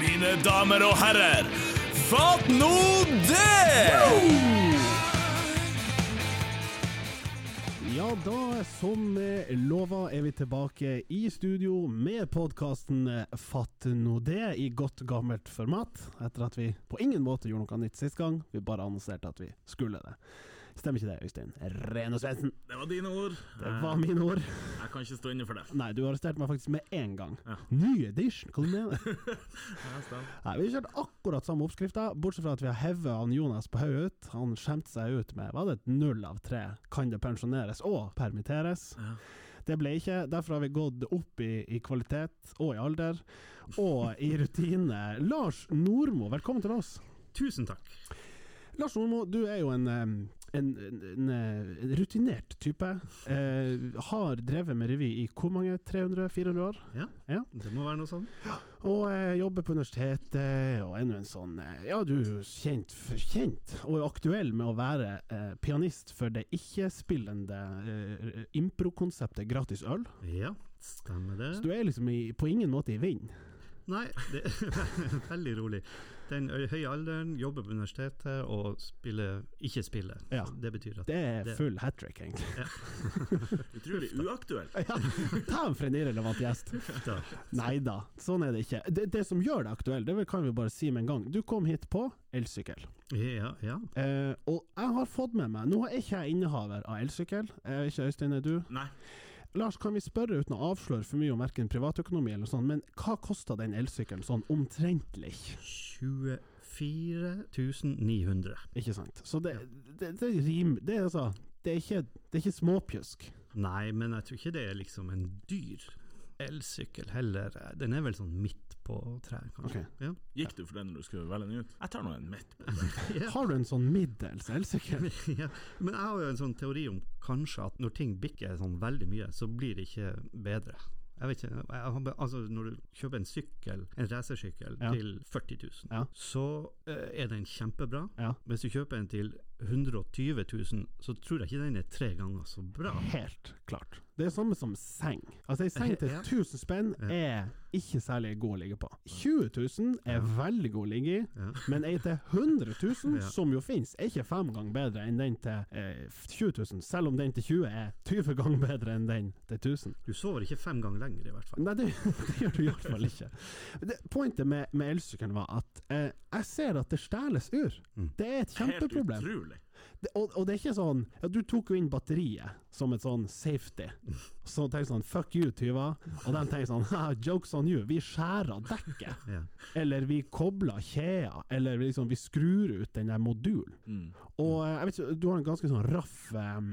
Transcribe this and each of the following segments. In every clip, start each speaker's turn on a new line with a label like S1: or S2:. S1: mine damer og herrer. Fatt nå det!
S2: Ja, da som eh, lova er vi tilbake i studio med podkasten Fatt nå det i godt gammelt format. Etter at vi på ingen måte gjorde noe nytt sist gang, vi bare annonserte at vi skulle det. Stemmer ikke det, Øystein? Rene Svendsen.
S1: Det var dine ord.
S2: Det var mine ord.
S1: Jeg kan ikke stå inne for det.
S2: Nei, du arresterte meg faktisk med én gang.
S1: Ja.
S2: Ny edition, hva du mener du?
S1: Ja, stemmer.
S2: Nei, vi har kjørt akkurat samme oppskrifta, bortsett fra at vi har hevet han Jonas på hodet ut. Han skjemte seg ut med var det et null av tre? Kan det pensjoneres og permitteres?
S1: Ja.
S2: Det ble ikke. Derfor har vi gått opp i, i kvalitet og i alder, og i rutine. Lars Nordmo, velkommen til oss.
S3: Tusen takk.
S2: Lars Nordmo, du er jo en, em, en, en, en, eh, rutinert type. Eh, har drevet med revy i hvor mange? 300-400 år?
S3: Ja,
S2: Ja.
S3: det må være noe sånn.
S2: Og eh, jobber på universitetet, og enda en sånn eh, Ja, du er jo kjent, for kjent, og aktuell med å være eh, pianist for det ikke-spillende eh, improkonseptet Gratis øl.
S3: Ja, stemmer det.
S2: Så du er liksom i, på ingen måte i vind.
S3: Nei, det er veldig rolig. Den ø- høye alderen, jobber på universitetet og spiller ikke spiller.
S2: Ja.
S3: Det betyr at
S2: Det er
S3: Det-
S2: full hat trick, egentlig.
S1: Utrolig uaktuelt.
S2: Ja, ta en for en irrelevant gjest.
S3: da,
S2: Nei da, sånn er det ikke. Det, det som gjør deg aktuell, det kan vi bare si med en gang. Du kom hit på elsykkel.
S3: Ja, ja.
S2: Eh, og jeg har fått med meg Nå er ikke jeg innehaver av elsykkel. Eh, ikke Øystein, er du?
S1: Nei.
S2: Lars, kan vi spørre uten å avsløre for mye om verken privatøkonomi eller sånn, men hva kosta den elsykkelen sånn omtrentlig?
S3: 24.900.
S2: Ikke sant? Så det, det, det er rim... Det er altså Det er ikke, det er ikke småpjusk.
S3: Nei, men jeg tror ikke det er liksom en dyr elsykkel heller. Den er vel sånn midt på treet, kanskje.
S2: Ok.
S3: Ja.
S1: Gikk du for den når du skulle velge den ut? Jeg tar nå en midt.
S3: Ja.
S2: Har du en sånn middels elsykkel?
S3: ja. Men jeg har jo en sånn teori om kanskje at når ting bikker sånn veldig mye, så blir det ikke bedre. Jeg vet ikke, jeg har, bare- altså Når du kjøper en sykkel, en racersykkel
S2: Ja.
S3: til 40 000,
S2: Ja.
S3: så eh, er den kjempebra.
S2: Ja.
S3: Hvis du kjøper en til 120 000, så tror jeg ikke den er tre ganger så bra.
S2: Helt klart. Det er samme som seng. Altså, ei seng til
S3: Ja.
S2: 1000 spenn er ikke særlig god å ligge på. 20 000 er veldig god å ligge i,
S3: Ja.
S2: men ei til 100 000,
S3: Ja.
S2: som jo fins, er ikke fem ganger bedre enn den til eh, 20 000, selv om den til 20 er 20 ganger bedre enn den til 1000.
S3: Du sover ikke fem ganger lenger, i hvert fall.
S2: Nei, det, det gjør du i hvert fall ikke. Det, pointet med, med elsykkelen var at eh, jeg ser at det stjeles ur.
S3: Mm.
S2: Det er et
S1: Helt
S2: kjempeproblem.
S1: utrolig.
S2: Det, og, og det er ikke sånn ja, Du tok jo inn batteriet som et sånn safety. Så tenkte jeg sånn Fuck you, tyver. Og de tenker sånn «Haha, Jokes on you. Vi skjærer dekket.
S3: Ja.
S2: Eller vi kobler kjeder. Eller vi liksom vi skrur ut den der modulen.
S1: Mm.
S2: Og eh, jeg vet ikke, du har en ganske sånn raff em,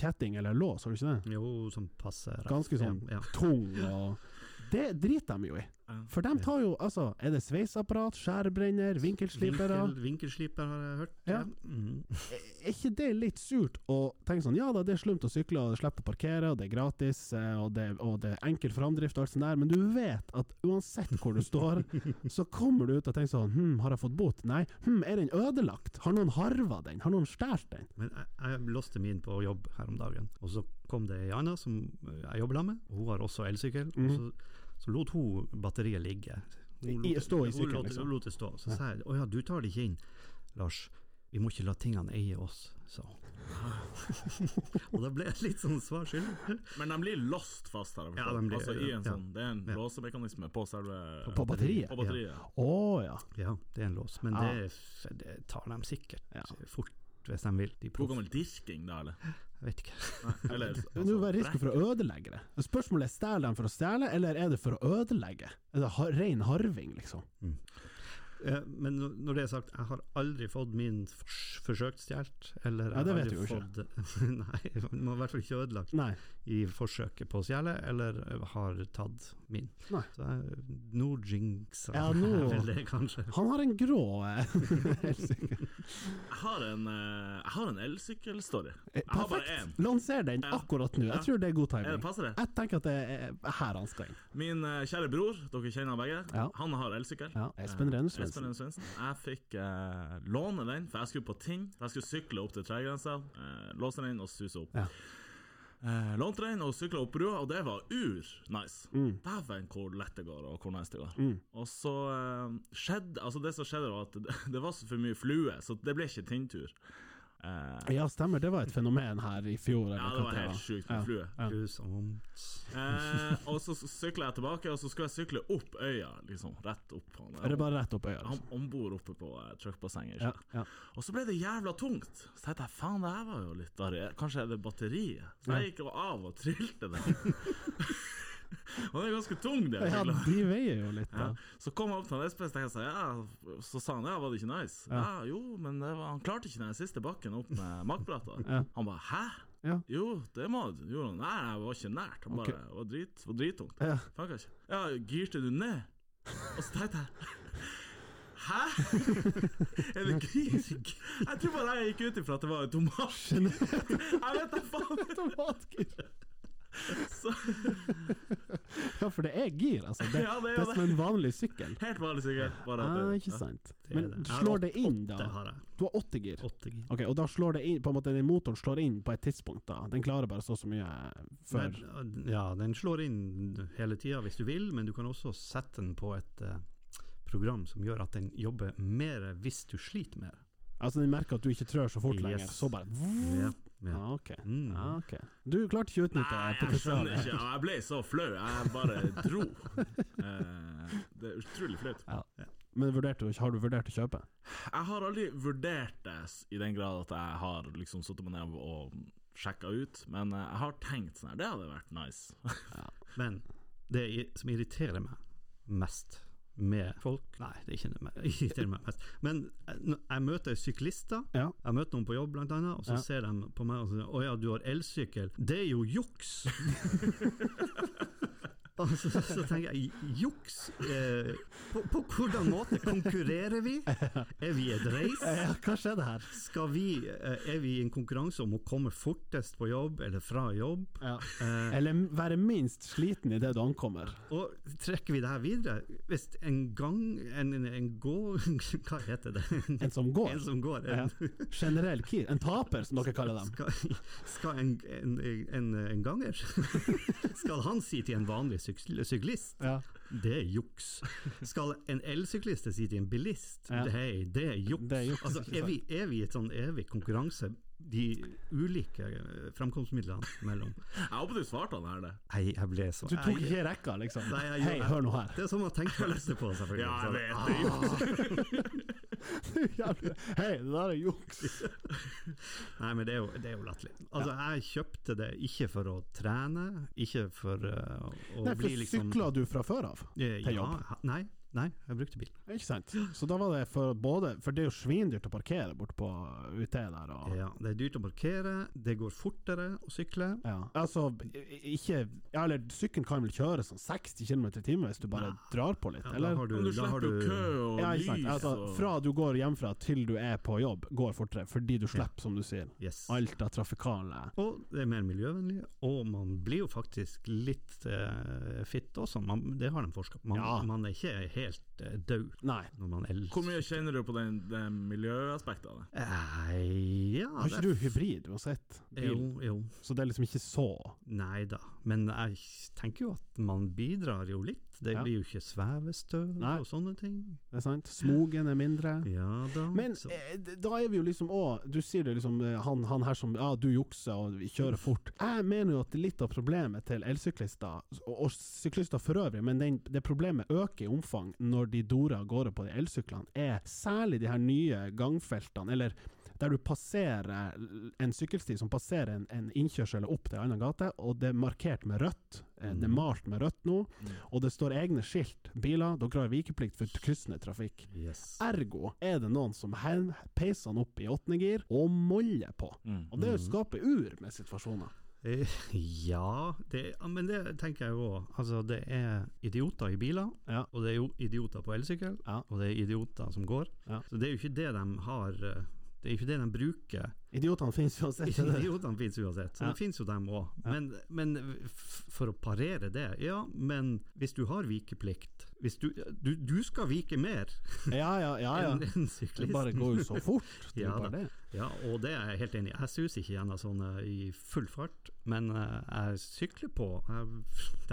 S2: kjetting eller lås, har du ikke det?
S3: Jo, sånn passe rett.
S2: Ganske sånn
S3: Ja, ja.
S2: tung og Det driter de jo i. For de tar jo altså Er det sveiseapparat, skjærebrenner, vinkelslipere?
S3: Vinkel, vinkelsliper har jeg hørt.
S2: Ja.
S3: Mm.
S2: er ikke det litt surt å tenke sånn Ja da, det er slumt å sykle, og det slipper å parkere, og det er gratis, eh, og det, og det er enkel framdrift og alt sånt der, men du vet at uansett hvor du står, så kommer du ut og tenker sånn Hm, har jeg fått bot? Nei. Hm, er den ødelagt? Har noen harva den? Har noen stjålet den?
S3: Men jeg, jeg låste min på jobb her om dagen, og så kom det ei anna som eh, jeg jobber sammen med, og hun har også elsykkel. og Så, så lot hun batteriet ligge. Hun
S2: Mhm. I-
S3: lot-
S2: stå i sykkelen,
S3: hun lot-
S2: liksom.
S3: Hun lot det stå. Så sa jeg å ja, du tar det ikke inn, Lars. Vi må ikke la tingene eie oss, sa hun. og da ble jeg litt sånn svar skyldig.
S1: Men de blir låst fast her. jeg
S3: Ja,
S1: forstår.
S3: de blir-
S1: altså, i en
S3: ja.
S1: sånn, det er en
S3: Ja.
S1: låsemekanisme på selve
S2: På, på batteriet?
S1: På
S2: Å
S1: batteriet.
S2: ja.
S3: Ja, det er en lås, men
S2: Ah.
S3: det, det tar de sikkert
S2: Ja.
S3: fort hvis de vil. De
S1: Hvor
S3: proff,
S1: gammel dirking, da, eller?
S3: jeg vet ikke.
S1: eller
S2: Men Nå
S1: altså,
S2: er det risiko for å ødelegge det. Spørsmålet er stjeler de for å stjele, eller er det for å ødelegge? Er det har, ren harving, liksom?
S3: Eh, Men når- når det er sagt, jeg har aldri fått min fors- forsøkt stjålet. Eller
S2: Ja, det
S3: jeg har
S2: vet
S3: aldri
S2: du jo
S3: fått- Nei, den var i hvert fall ikke ødelagt
S2: Nei.
S3: i forsøket på å stjele, eller har tatt min.
S2: Nei.
S3: Så jeg, nå jinxer
S2: Ja,
S3: jeg
S2: nå-
S3: vel det, kanskje.
S2: Han har en grå eh, elsykkel.
S1: Jeg har en, eh, jeg har en elsykkelstory. Jeg har bare én.
S2: Perfekt! Lanser den
S1: Ja.
S2: akkurat nå.
S1: Ja.
S2: Jeg tror det er god timing.
S1: Er det passer det?
S2: Jeg tenker at det er her han skal inn.
S1: Min eh, kjære bror, dere kjenner han begge,
S2: Ja.
S1: han har elsykkel.
S2: Ja, Espen
S1: Eh,
S2: Rene
S1: Espen
S2: Svendsen.
S1: Rene Svendsen. Jeg fikk eh, låne den, for jeg skulle på ting. Jeg skulle sykle opp til tregrensa, eh, låse den inn og suse opp.
S2: Ja.
S1: Eh, lånte den og sykla opp brua, og det var ur-nice.
S2: Mm.
S1: Dæven hvor lett det går, og hvor nice det går.
S2: Mm.
S1: Og så eh, skjedde Altså, det som skjedde, var at det, det var så for mye flue, så det ble ikke tinntur. Eh,
S2: Ja, stemmer. Det var et fenomen her i fjor. eller
S1: ja,
S2: hva
S1: det var helt sjukt med
S2: Ja.
S1: flue.
S2: Ja.
S3: Grusomt.
S1: Eh, og så sykla jeg tilbake, og så skulle jeg sykle opp øya, liksom. Rett opp. Han,
S2: Er det bare rett opp øya?
S1: han,
S2: Liksom?
S1: han bor oppe på eh, truckbassenget.
S2: Ja,
S1: ikke sant?
S2: ja.
S1: Og så ble det jævla tungt. Så tenkte jeg faen, det her var jo litt variert. Kanskje er det batteriet? Så jeg gikk jo av og trilte det. og det er ganske tung, det.
S2: ja,
S1: sykla.
S2: de veier jo litt, da.
S1: Ja. Så kom jeg opp til han Espen og sa ja, så sa han ja, var det ikke nice? Ja,
S2: Ja.
S1: jo, men det var, han klarte ikke den siste bakken opp med makbrata.
S2: Ja.
S1: Han bare hæ?
S2: Ja.
S1: Jo, det må du. Jo, nei, jeg var ikke nært. Han
S2: Ok.
S1: bare det var, drit, var drittungt.
S2: Ja.
S1: Funka ikke. Ja, girte du ned? Og så tenkte jeg Hæ? Er det gris? Jeg tror bare jeg gikk ut ifra at det var en tomat. Jeg vet da faen.
S2: Automatgir.
S1: Så,
S2: Ja, for det er gir, altså. Det,
S1: ja, det er Ah,
S2: det er
S1: jo
S2: som
S1: det.
S2: en vanlig sykkel.
S1: Helt vanlig sikkert. Bare at
S2: Ja,
S1: det-
S2: ikke
S1: ja.
S2: sant.
S3: Det er
S2: Men
S3: det. Jeg har
S2: slår det inn,
S3: Det
S2: da?
S3: har jeg.
S2: Du har åtte gir.
S3: Åtte gir.
S2: Ok, Og da slår det inn, på en måte, den motoren slår inn på et tidspunkt, da. Den klarer bare så og så mye før.
S3: Nei, eh, ja, den slår inn hele tida hvis du vil, men du kan også sette den på et eh, program som gjør at den jobber mer hvis du sliter mer.
S2: Altså, den merker at du ikke trør så fort
S3: Yes.
S2: lenger, så bare
S3: Ja, ja.
S2: Ja, ok.
S3: Mm.
S2: Ja, ok. Mhm. Du klarte ikke å utnytte
S1: Nei, jeg skjønner
S2: potensialet.
S1: ikke. og Jeg ble så flau. Jeg bare dro. Eh, det er utrolig flaut.
S2: Men vurderte du, ikke- har du vurdert å kjøpe?
S1: Jeg har aldri vurdert det s- i den grad at jeg har liksom satt meg ned og sjekka ut, men eh, jeg har tenkt sånn her, det hadde vært nice.
S3: Men det i- som irriterer meg mest med folk Nei, det er ikke det me- irriterer meg mest. Men eh, når jeg møter syklister.
S2: Ja.
S3: Jeg møter noen på jobb, blant annet, og så
S2: Ja.
S3: ser de på meg og sier 'Å ja, du har elsykkel'. Det er jo juks! Og så, så tenker jeg, juks? Eh, på, på hvordan måte? Konkurrerer vi? Er vi et race?
S2: ja hva skjedde her?
S3: Skal vi, eh, er vi i en konkurranse om å komme fortest på jobb, eller fra jobb?
S2: Ja.
S3: Eh,
S2: Eller m- være minst sliten idet du ankommer.
S3: Og trekker vi det her videre, hvis en gang En, en, en gå... Hva heter det?
S2: En som går.
S3: En som går. En,
S2: Generell kir. En taper, som dere kaller dem.
S3: skal skal en, en, en, en ganger Skal han si til en vanlig syk- syklist
S2: Ja.
S3: det er juks. Skal en elsyklist si til en bilist
S2: Ja.
S3: hei, det er juks.
S2: Det er juks,
S3: altså,
S2: ikke
S3: er, vi, er vi i et sånn evig konkurranse de ulike eh, framkomstmidlene mellom?
S1: Jeg håper du svarte han her, det.
S3: Nei, jeg ble så
S2: Du tok ikke rekka, liksom.
S3: Nei, jeg gjorde
S2: Hei,
S3: det.
S2: hør nå her.
S3: Det er sånn man tenker neste på, selvfølgelig. Ah.
S1: Ja, jeg
S3: Så-
S1: vet det. jo.
S2: Jævlig. Hei, det der er juks.
S3: Nei, men det er jo, det er jo latterlig. Altså, jeg kjøpte det ikke for å trene, ikke for eh, å, å
S2: Nei, for
S3: bli liksom
S2: sykla du fra før av?
S3: Eh,
S2: til
S3: ja,
S2: jobb?
S3: ha- Nei, nei, jeg brukte bil.
S2: Ikke sant? Så da var det for både For det er jo svindyrt å parkere borte på UT der og
S3: Ja, det er dyrt å parkere, det går fortere å sykle.
S2: ja. Altså, i- ikke Ja, eller sykkelen kan vel kjøre sånn 60 km i timen hvis du bare drar på litt,
S3: Ja, da
S2: eller?
S3: har du,
S1: Men du
S3: da
S1: slipper
S3: har du
S1: jo kø og
S2: Ja, ikke sant.
S1: lys
S2: Altså,
S1: og
S2: fra du går hjemmefra til du er på jobb, går fortere, fordi du slipper, som du sier,
S3: Yes.
S2: alt det trafikale.
S3: Og det er mer miljøvennlig, og man blir jo faktisk litt eh, fitt også, man, det har de forska på. Man,
S2: Ja.
S3: man er ikke helt eh, død
S2: Nei.
S3: når man elsker.
S1: Hvor mye kjenner du på den, den miljøaspektet av det?
S3: Eh, ja,
S2: Har ikke
S3: det-
S2: du hybrid uansett? Bil?
S3: Jo, jo.
S2: Så det er liksom ikke så
S3: Nei da, men jeg tenker jo at man bidrar jo litt. Det
S2: Ja.
S3: blir jo ikke svevestøv
S2: Nei.
S3: og sånne ting.
S2: Det er sant? Smogen er mindre.
S3: Ja da.
S2: Men
S3: så,
S2: eh, d- da er vi jo liksom òg Du sier det liksom eh, han, han her som Ja, du jukser og vi kjører fort. Jeg mener jo at litt av problemet til elsyklister, og, og syklister for øvrig, men den, det problemet øker i omfang når de dorer av gårde på de elsyklene, er særlig de her nye gangfeltene, eller der du passerer l- en sykkelsti som passerer en, en innkjørsel opp til en annen gate, og det er markert med rødt. eh, Det er
S3: Mm.
S2: malt med rødt nå,
S1: Mm.
S2: og det står egne skilt. Biler, dere har vikeplikt for kryssende trafikk.
S3: yes.
S2: Ergo er det noen som hen- peiser han opp i åttende gir og moller på. Og
S3: Mhm.
S2: det er jo å skape ur med situasjoner.
S3: Eh, Ja, det, ja, men det tenker jeg jo òg. Altså, det er idioter i biler,
S2: Ja.
S3: og det er jo idioter på elsykkel,
S2: Ja.
S3: og det er idioter som går.
S2: Ja.
S3: Så det er jo ikke det de har eh, Det er ikke det de bruker.
S2: Idiotene finnes uansett. det er det.
S3: Idiotene finnes uansett, så
S2: Ja.
S3: det finnes jo dem òg.
S2: Ja.
S3: Men, men f- for å parere det, ja, men hvis du har vikeplikt hvis du, du, du skal vike mer
S2: Ja, ja, Ah, ja. ja.
S3: enn en
S2: Det
S3: syklisten.
S2: bare går jo så fort. Det er
S3: Ja
S2: jo bare
S3: da.
S2: det.
S3: Ja, og det er jeg helt enig i. Jeg suser ikke gjennom sånne i full fart, men eh, jeg sykler på. Jeg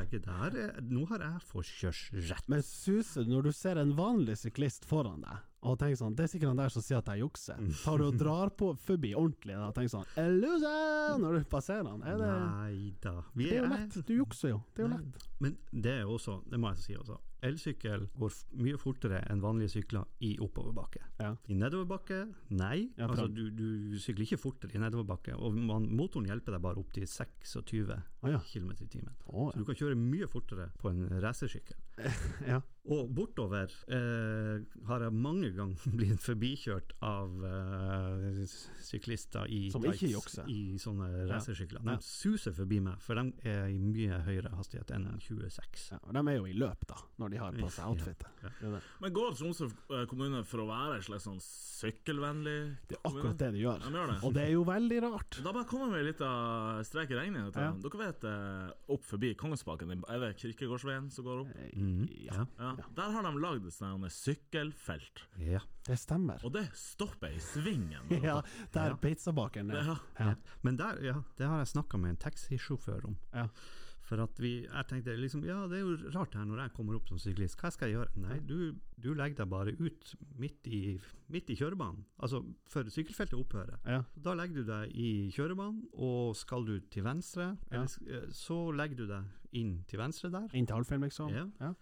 S3: tenker det her er, nå har jeg forkjørsrett.
S2: Men suser du når du ser en vanlig syklist foran deg, og tenker sånn Det er sikkert han der som sier at jeg jukser.
S3: Mm.
S2: Tar du og drar på forbi ordentlig da, og tenker sånn «Eh, Loser! Når du passerer han. Er det
S3: Nei da. Vi
S2: Det er jo
S3: jeg-
S2: lett. Du jukser jo. Det er jo
S3: Nei.
S2: lett.
S3: Men det er også, det må jeg si også, elsykkel går f mye fortere enn vanlige sykler i oppoverbakke.
S2: Ja.
S3: I nedoverbakke, nei.
S2: Ja,
S3: altså,
S2: fram.
S3: du, du sykler ikke fortere i nedoverbakke, og man, motoren hjelper deg bare opp til 26
S2: Å ja.
S3: km i timen.
S2: Å,
S3: Så du kan kjøre mye fortere på en racersykkel.
S2: ja.
S3: Og bortover eh, har jeg mange ganger blitt forbikjørt av eh, s- syklister i
S2: Som ikke jukser.
S3: i sånne
S2: Ja.
S3: racersykler.
S2: Ja.
S3: De suser forbi meg, for de er i mye høyere hastighet enn 26.
S2: ja. De er jo i løp, da, når de har på seg outfitet.
S3: Ja.
S2: Det er det.
S1: Men går Tromsø eh, kommune for å være en slags sånn sykkelvennlig
S2: Det er akkurat det de gjør.
S1: De gjør det.
S2: Og det er jo veldig rart.
S1: Da bare kommer vi med en liten strek i regningen. vet du.
S2: Ja.
S1: Dere vet eh, opp forbi Kongensbaken, er det Kirkegårdsveien som går opp?
S3: Mm.
S2: Ja,
S1: Ja.
S2: Eh, Ja.
S1: Der har de lagd et sånt sykkelfelt,
S3: Ja.
S2: det stemmer.
S1: og det stopper i svingen. når
S2: Ja,
S1: dere-
S2: der pizzabakeren er.
S1: Ja.
S2: Ja.
S3: Men der, ja, det har jeg snakka med en taxisjåfør om.
S2: Ja.
S3: For at vi, jeg tenkte liksom, ja det er jo rart her når jeg kommer opp som syklist, hva skal jeg gjøre? Nei, du, du legger deg bare ut midt i, midt i kjørebanen, altså for sykkelfeltet opphører.
S2: Ja.
S3: Da legger du deg i kjørebanen, og skal du til venstre,
S2: Ja.
S3: eller sk- eh, så legger du deg inn til venstre der,
S2: Inn til halvfilm, liksom.
S3: Ja.
S2: Ja.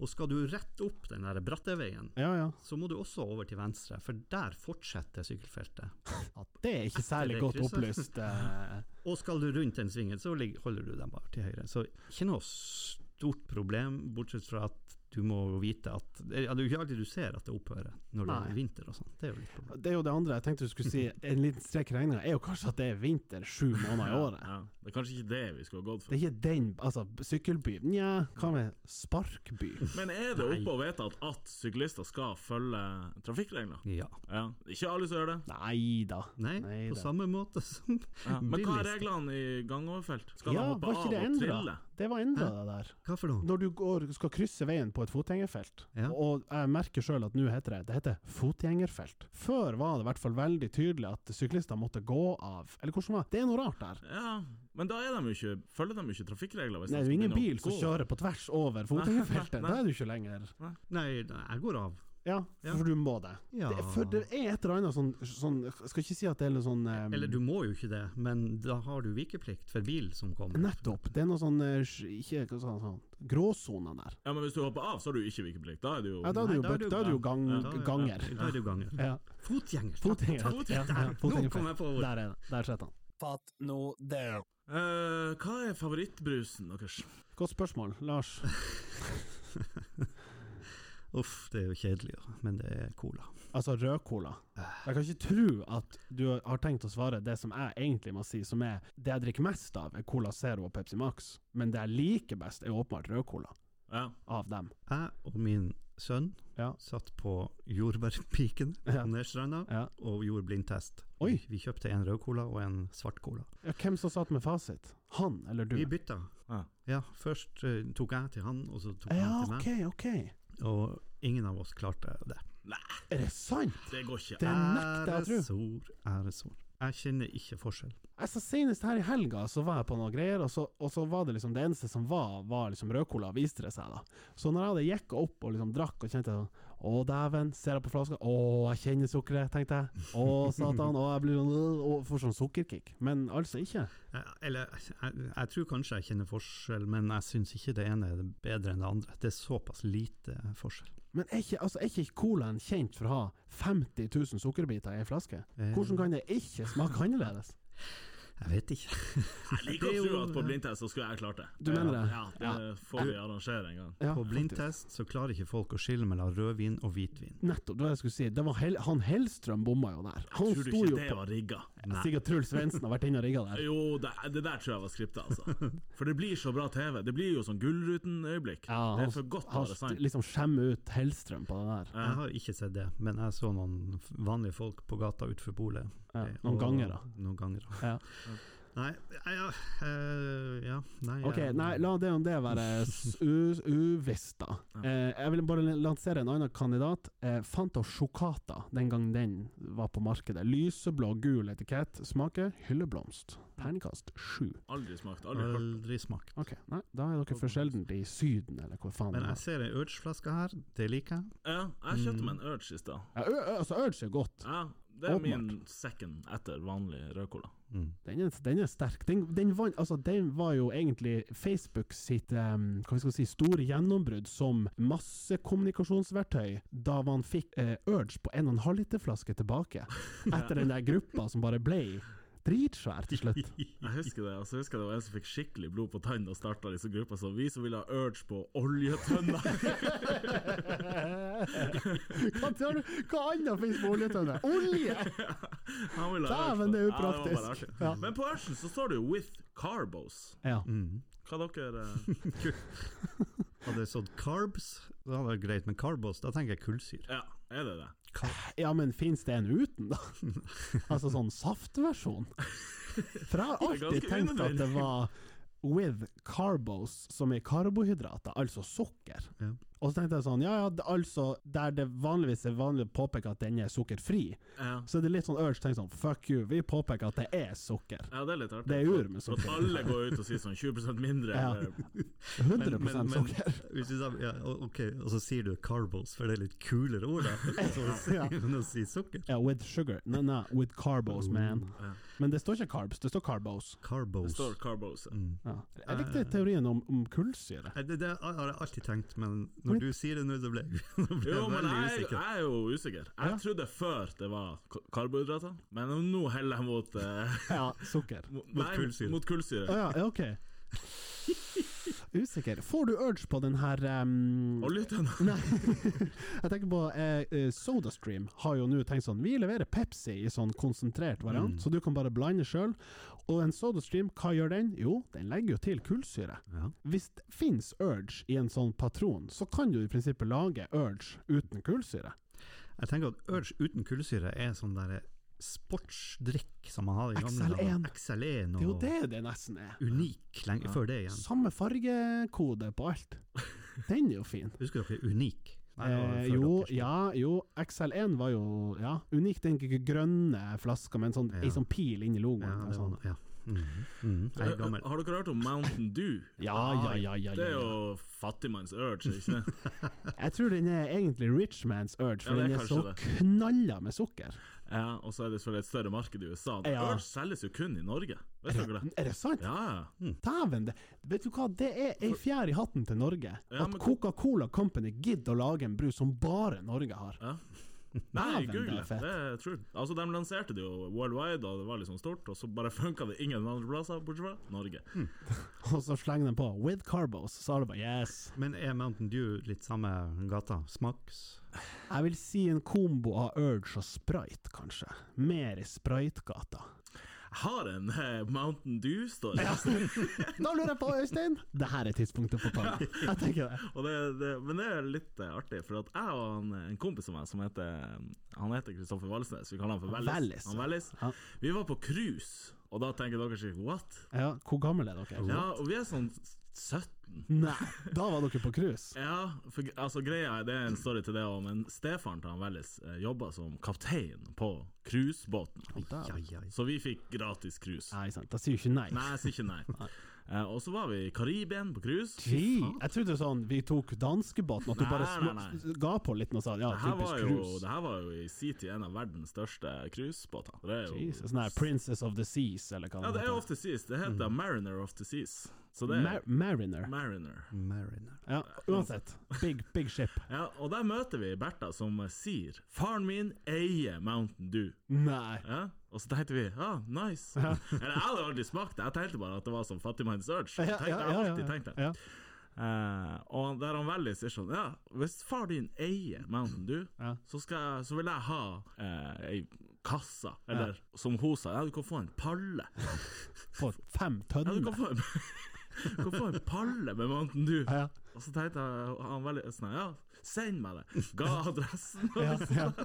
S3: og skal du rett opp den der bratte veien,
S2: ja, ja.
S3: så må du også over til venstre, for der fortsetter sykkelfeltet.
S2: Ja, det er ikke særlig
S3: det
S2: godt
S3: krysset.
S2: opplyst. eh.
S3: Og skal du rundt den svingen, så ligger, holder du deg bare til høyre. Så ikke noe stort problem, bortsett fra at du må vite at eh, ja, Det er jo ikke alltid du ser at det opphører når det
S2: Nei.
S3: er vinter og sånn. Det er jo litt problem.
S2: Det er jo det andre jeg tenkte du skulle si. En liten strek i regninga er jo kanskje at det er vinter sju måneder i året.
S1: Ja. Det er kanskje ikke det vi skulle ha gått
S2: Det
S1: for.
S2: er ikke den Altså, sykkelby Nja, hva med sparkby?
S1: Men er det
S3: Nei.
S1: oppe og vedtatt at syklister skal følge trafikkregler?
S3: Ja.
S1: Ja. Ikke alle som gjør det.
S2: Nei da.
S3: Nei,
S2: Nei,
S3: på
S2: det-
S3: samme måte som
S1: Ja. Men hva er
S3: Billigst.
S1: reglene i gangoverfelt? Skal
S2: Ja,
S1: de
S2: var
S1: hoppe
S2: ikke
S1: av
S2: det
S1: og
S2: endra?
S1: trille?
S2: Det var endra, det der.
S3: Hva for noe?
S2: Når du går, skal krysse veien på et fotgjengerfelt,
S3: Ja.
S2: og jeg merker sjøl at nå heter det det heter fotgjengerfelt. Før var det i hvert fall veldig tydelig at syklister måtte gå av, eller hvordan var det? Det er noe rart der.
S1: Ja, men da er de jo ikke, følger de jo ikke trafikkregler. Hvis de
S2: Nei, det er
S1: skal
S2: jo ingen
S1: begynne å
S2: bil som
S1: gå.
S2: kjører på tvers over fotgjengerfeltet.
S1: Nei.
S2: Da er du ikke lenger
S3: Nei, nei, jeg går av.
S2: Ja,
S3: Ja.
S2: for du må det.
S3: Ja.
S2: det. For det er et eller annet sånn, sånn jeg Skal ikke si at det er noe sånn eh,
S3: Eller du må jo ikke det, men da har du vikeplikt for bil som kommer.
S2: Nettopp. Det er noe sånn eh, Ikke hva sa han sånn Gråsona der.
S1: Ja, men hvis du hopper av, så har du ikke vikeplikt. Da er det jo
S2: Ja, da er du jo,
S3: Nei, da er
S2: bøk-
S3: du
S2: da er du jo gang,
S3: gang- Da- ja,
S2: ganger.
S3: Da er du ganger.
S2: Ja.
S3: Fotgjenger!
S2: Fotgjenger.
S3: Takk, takk,
S2: Ja,
S3: takk.
S2: ja,
S3: Nå kom
S2: fotgjengerfelt.
S3: jeg på ordet.
S2: Der er det. Der sitter han. Fatt nå det.
S1: Eh, Hva er favorittbrusen deres?
S2: Godt spørsmål, Lars.
S3: Uff, det er jo kjedelig, ja, men det er cola.
S2: Altså rødcola. Jeg kan ikke tro at du har tenkt å svare det som jeg egentlig må si, som er det jeg drikker mest av, er Cola Zero og Pepsi Max, men det jeg liker best, er åpenbart rødcola.
S1: Ja.
S2: Av dem.
S3: Jeg og min sønn
S2: Ja.
S3: satt på jordbærpiken
S2: Ja.
S3: på Nedstranda
S2: Ja.
S3: og gjorde blindtest.
S2: Oi.
S3: Vi kjøpte en rød cola og en svart cola.
S2: Ja, hvem som satt med fasit? Han eller du?
S3: Vi bytta.
S1: Ja.
S3: Ja, først eh, tok jeg til han, og så tok
S2: Ja,
S3: han til meg.
S2: ok, ok.
S3: Og ingen av oss klarte det.
S2: Er det sant?
S1: Det går ikke.
S2: Det nekter jeg å tro.
S3: Æresord, æresord. Jeg kjenner ikke forskjell.
S2: Altså, senest her i helga så var jeg på noen greier, og så, og så var det liksom det eneste som var, var liksom rødcola, viste det seg da. Så når jeg hadde jekka opp og liksom drakk og kjente sånn Å, dæven, ser jeg på flaska Å, jeg kjenner sukkeret, tenkte jeg. Å, satan. Å, jeg blir sånn øh, Og får sånn sukkerkick. Men altså ikke.
S3: Jeg, eller, jeg, jeg tror kanskje jeg kjenner forskjell, men jeg syns ikke det ene er bedre enn det andre. Det er såpass lite forskjell.
S2: Men er ikke, altså, er ikke colaen kjent for å ha 50 000 sukkerbiter i ei flaske?
S3: Eh,
S2: Hvordan kan det ikke smake annerledes?
S3: Jeg vet ikke.
S1: Jeg liker
S3: Det er
S1: å tro
S3: jo-
S1: at på blindtest så skulle jeg klart det.
S2: Du mener det?
S1: Ja, det får vi arrangere en gang.
S2: Ja,
S3: På
S2: faktisk.
S3: blindtest så klarer ikke folk å skille mellom rødvin og hvitvin.
S2: Nettopp, det var det jeg skulle si. Det var Hel han Hellstrøm bomma jo der. Han
S1: Tror du
S2: sto
S1: ikke
S2: jo
S1: det
S2: på
S1: var rigga?
S3: Nei.
S2: Sikkert Truls Svendsen har vært inne og rigga der.
S1: Jo, det, det der tror jeg var skripta, altså. For det blir så bra TV. Det blir jo sånn Gullruten-øyeblikk.
S2: Ja,
S1: det
S2: han-
S1: er for godt å
S2: Han
S1: være sant.
S2: liksom skjemmer ut Hellstrøm på det der.
S1: Ja.
S3: Jeg har ikke sett det, men jeg så noen f- vanlige folk på gata utenfor bolet.
S2: Ja,
S3: Eh,
S2: noen
S3: og-
S2: ganger, da.
S3: Noen ganger, da.
S2: Ja.
S3: Nei, ja, ja, eh, ja nei,
S2: Ok,
S3: jeg-
S2: nei, la det om det være s- u- uvisst, da.
S1: Ja.
S2: Eh, jeg vil bare lansere en annen kandidat. Eh, Fanta Chocata, den gang den var på markedet. Lyseblå, gul etikett. Smaker hylleblomst. Terningkast sju.
S1: Aldri smakt, aldri hørt.
S3: Aldri smakt.
S2: Ok, nei, da er dere for sjeldent i Syden, eller hvor faen
S3: Men
S2: det
S3: jeg
S2: er.
S3: ser ei Urge-flaske her, det liker jeg.
S1: Ja, jeg kjøpte
S3: Mm.
S1: meg en Urge i stad.
S2: Ja, ø, ø, altså, Urge er godt.
S1: Ja, det er
S2: Åpenbart.
S1: min second etter vanlig rødcola.
S3: Mm.
S2: Den er, den er sterk. Den, den, vant- altså, den var jo egentlig Facebook sitt em, hva skal vi si, store gjennombrudd som massekommunikasjonsverktøy, da man fikk eh, Urge på 1,5 liter flaske tilbake. Etter den der gruppa som bare ble dritsvær til slutt.
S1: Jeg husker det, og så husker jeg det var en som fikk skikkelig blod på tann og starta disse gruppa, så vi som ville ha Urge på oljetønna
S2: hva, tror du, hva annet finnes på oljetønne? Olje!
S1: Han ville ha Urge
S2: Dæven,
S1: på- Ja, var
S2: det er
S1: bare
S2: upraktisk.
S1: artig.
S2: Ja.
S1: Men på Urgen så står det jo 'with carbos'.
S2: Ja.
S3: Mm.
S1: Hva dere eh,
S3: Hadde det stått carbs, da hadde det vært greit, men carbos, da tenker jeg kullsyre.
S1: Ja, er det det?
S2: Eh, ja, men finnes det en uten, da? altså sånn saftversjon? For jeg har
S1: Det er
S2: alltid
S1: ganske
S2: tenkt at det
S1: unødvendig.
S2: var with carbos, som er karbohydrater, altså sukker.
S3: Ja.
S2: Og så tenkte jeg sånn, ja ja, det, altså der det vanligvis er vanlig å påpeke at den er sukkerfri,
S1: Ja,
S2: så er det litt sånn urge tenkt sånn, fuck you, vi påpeker at det er sukker.
S1: ja det er litt artig.
S2: Det er ur med
S1: Så at
S2: sukker.
S1: alle går ut og sier sånn 20 mindre.
S2: Ja.
S1: Eller,
S2: 100
S3: Men- men- men-
S2: sukker.
S3: Hvis du sa, ja, o- ok, og så sier du carbos, for det er litt kulere ord, da. Så,
S2: Ja.
S3: Men å si sukker.
S2: Ja, with sugar. Nei, nei, with carbos, man.
S1: ja.
S2: Men det står ikke carbs, det står carbos.
S1: Det
S3: Carbos.
S1: står carbos.
S3: Mm.
S2: Ja. Jeg likte teorien om, om kullsyre.
S3: Nei, Det, det har jeg alltid tenkt, men når du sier det nå, så ble, nå ble jeg
S1: Jo, men
S3: veldig
S1: jeg,
S3: usikker.
S1: jeg er jo usikker. Jeg
S2: Ja.
S1: trodde før det var k- karbohydrater, men nå heller jeg mot eh,
S2: Ja, sukker.
S1: mot-
S3: Mot
S1: nei,
S3: kullsyre.
S1: Mot kullsyre.
S2: Å ja, ja, ok. Usikker. Får du urge på den her ehm,
S1: Oljetønna.
S2: Nei, jeg tenker på eh, eh, SodaStream har jo nå tenkt sånn Vi leverer Pepsi i sånn konsentrert variant,
S3: Mm.
S2: så du kan bare blande sjøl. Og en SodaStream, hva gjør den? Jo, den legger jo til kullsyre.
S3: Ja.
S2: Hvis det fins urge i en sånn patron, så kan du i prinsippet lage urge uten kullsyre.
S3: Jeg tenker at Urge uten kullsyre er sånn der sportsdrikk som man hadde i gamle
S2: XL1.
S3: dager. XL1
S2: Det er jo
S3: og
S2: det det nesten er.
S3: Unik lenge før det igjen.
S2: Samme fargekode på alt. Den er jo fin.
S3: Husker dere Unik? Nei, det
S2: Eh,
S3: var før
S2: jo,
S3: deres tid.
S2: ja, jo, XL1 var jo ja, unik, den g- grønne flaska med en sånn,
S3: Ja.
S2: ei sånn pil inni logoen.
S3: Ja,
S2: Ja,
S3: det var
S2: sånn.
S3: noe, ja. Mhm, mhm, Jeg er gammel.
S1: Har dere hørt om Mountain Dew?
S2: ja, ja, ja, ja,
S1: Det er
S2: ja,
S1: jo fattigmanns urge, ikke det?
S2: ja. Jeg tror den er egentlig rich man's urge,
S1: Ja,
S2: for
S1: det er
S2: den er så
S1: kanskje det.
S2: knalla med sukker.
S1: Ja, og så er det selvfølgelig et større marked i USA.
S2: Ja.
S1: Urge selges jo kun i Norge, vet
S2: Er
S1: dere det?
S2: det, er det sant?
S1: Ja, ja.
S2: Dæven, det, vet du hva, det er ei fjær i hatten til Norge.
S1: Ja,
S2: At
S1: men-
S2: Coca-Cola Company gidder å lage en brus som bare Norge har.
S1: Ja. Nei,
S2: Dæven,
S1: google
S2: det
S1: det.
S2: er fett.
S1: Det er true. Altså, de lanserte det jo worldwide, og det var liksom stort, og så bare funka det ingen andre plasser, bortsett fra Norge.
S2: Og så slenger de på 'with carbos', så er det bare yes.
S3: Men er Mountain Dew litt samme gata? Smaks?
S2: Jeg vil si en kombo av Urge og Sprite, kanskje. Mer i Sprite-gata.
S1: Jeg har en eh, Mountain Dew-story,
S2: Da lurer jeg på, Øystein! Det her er tidspunktet for tall. Jeg tenker det.
S1: og det, det, men det er litt eh, artig, for at jeg og en, en kompis av meg som heter Han heter Kristoffer Valsnes, vi kaller han for Vellis.
S2: Vellis,
S1: Han Vellis.
S2: ja.
S1: Vi var på cruise, og da tenker dere sikkert what?
S2: Ja, hvor gammel er dere?
S1: Ja, og vi er sånn 17.
S2: Nei, da var dere på cruise.
S1: Ja, for g- altså greia er det er en story til det òg, men stefaren til han Vellis eh, jobba som kaptein på cruisebåten.
S3: Ja, ja.
S1: Så vi fikk gratis cruise.
S2: Nei, sant. Da sier jo ikke nei.
S1: Nei, jeg sier ikke nei. Eh, og så var vi i Karibien på cruise.
S2: Fy, jeg trodde sånn vi tok danskebåten, at du
S1: Nei,
S2: bare
S1: nei, nei.
S2: sm- ga på litt og sa ja,
S1: Det her, var
S2: typisk
S1: jo, det
S2: cruise.
S1: her var jo i sin tid en av verdens største cruisebåter. Det er jo
S2: Jesus, Sånn her Princess of the Seas, eller hva
S1: Ja, det er
S2: heter.
S1: Off the Seas. Det heter Mariner of the Seas. Så det
S2: Mm. Mar
S1: er
S2: Mariner.
S1: Mariner.
S3: Mariner.
S2: Ja, uansett. Big, big ship.
S1: Ja, og der møter vi Bertha som eh, sier 'Faren min eier Mountain Dew'.
S2: Nei.
S1: Ja, og så tenkte vi ja, nice. Eller jeg hadde aldri smakt det, jeg tenkte bare at det var som Fattigmanns Urge.
S2: Ja,
S1: Jeg tenkte, jeg
S2: ja, ja,
S1: har
S2: ja,
S1: alltid
S2: ja.
S1: tenkt det.
S2: Ja.
S1: Eh, og der han veldig sier sånn Ja, hvis far din eier Mountain Dew,
S2: Ja.
S1: så, skal, jeg- så vil jeg ha eh, ei kassa, eller som hun sa, ja, du kan få en palle.
S2: For fem
S1: Ja, du
S2: tønner.
S1: kan få en, du kan få en palle med Mountain Dew.
S2: Ja,
S1: Og så tenkte jeg, han veldig sånn, ja, send meg det. Ga adressen.
S2: ja, ja.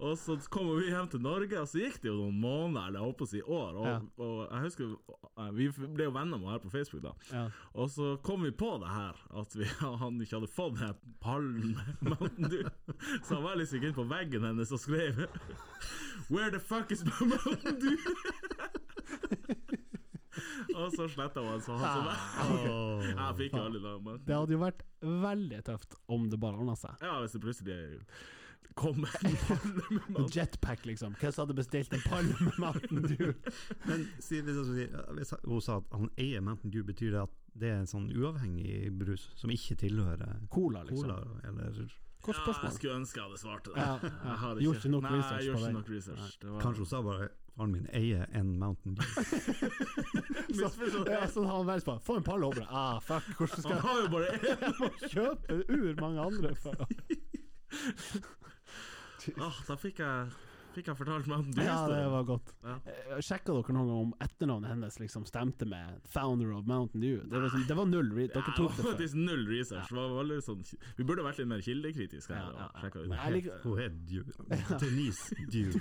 S1: Og så kom vi hjem til Norge, og så gikk det jo noen måneder, eller jeg holdt på å si år. Og,
S2: Ja.
S1: og jeg husker eh, Vi ble jo venner med han her på Facebook, da.
S2: ja.
S1: Og så kom vi på det her, at vi, han ikke hadde fått den her pallen med Mountain Dew. Så han var liksom ikke inne på veggen hennes og skrev Where the fuck is my Mountain Dew? og så sletta han så han som
S3: Åh.
S1: Jeg
S2: Ah.
S1: fikk jo aldri det, men
S2: Det hadde jo vært veldig tøft om det bare ordna seg.
S1: ja, hvis det plutselig kom en palle med
S2: En
S1: Mountain
S2: jetpack, liksom. Hvem som hadde bestilt en pall med Mountain Dew?
S3: Men si, hvis jeg skulle si, ja, hvis hun sa at han eier Mountain Dew, betyr det at det er en sånn uavhengig brus som ikke tilhører
S2: Cola, liksom.
S3: cola? Eller
S2: Godt
S1: Ja, jeg
S2: spørsmål.
S1: skulle ønske jeg hadde svart til det.
S2: Ja,
S1: Jeg har
S2: Gjorde ikke nok
S1: Nei,
S2: research
S1: jeg gjorde
S2: på
S1: ikke
S2: det.
S1: nok research. Det var
S3: kanskje hun sa bare faren min eier en Mountain Dew.
S1: misforstått.
S2: Ja, sånn har han vært på. Få en pall over. Ah, fuck, hvordan skal
S1: Han har jo bare én!
S2: jeg må kjøpe ur mange andre for
S1: Ah, da fikk jeg, fikk jeg fortalt meg om du
S2: Ja, det var godt.
S1: Ja.
S2: Eh, Sjekka dere noen gang om etternavnet hennes liksom stemte med 'Founder of Mountain Dew'? Det var, liksom, det var null. re- Dere tok
S1: det
S2: det
S1: var
S2: før.
S1: faktisk null research. Det var veldig sånn, vi burde vært litt mer kildekritiske.
S2: Ja,
S1: her, og
S2: ja, ja.
S1: sjekket ut.
S2: Men Jeg, liker-
S3: Hun er Dew. Denise Dew.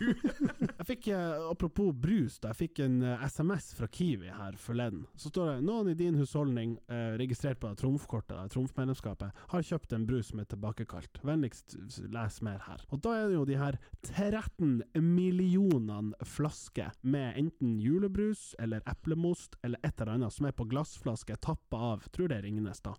S2: jeg fikk, eh, apropos brus, da, jeg fikk en eh, SMS fra Kiwi her forleden. Så står det 'Noen i din husholdning, eh, registrert på trumfkortet, da, trumfmedlemskapet, har kjøpt en brus som er tilbakekalt. Vennligst s- les mer her'. Og da er det jo de her 13 millionene flasker med enten julebrus eller eplemost eller et eller annet som er på glassflaske tappa av, tror det er Ringnes, da.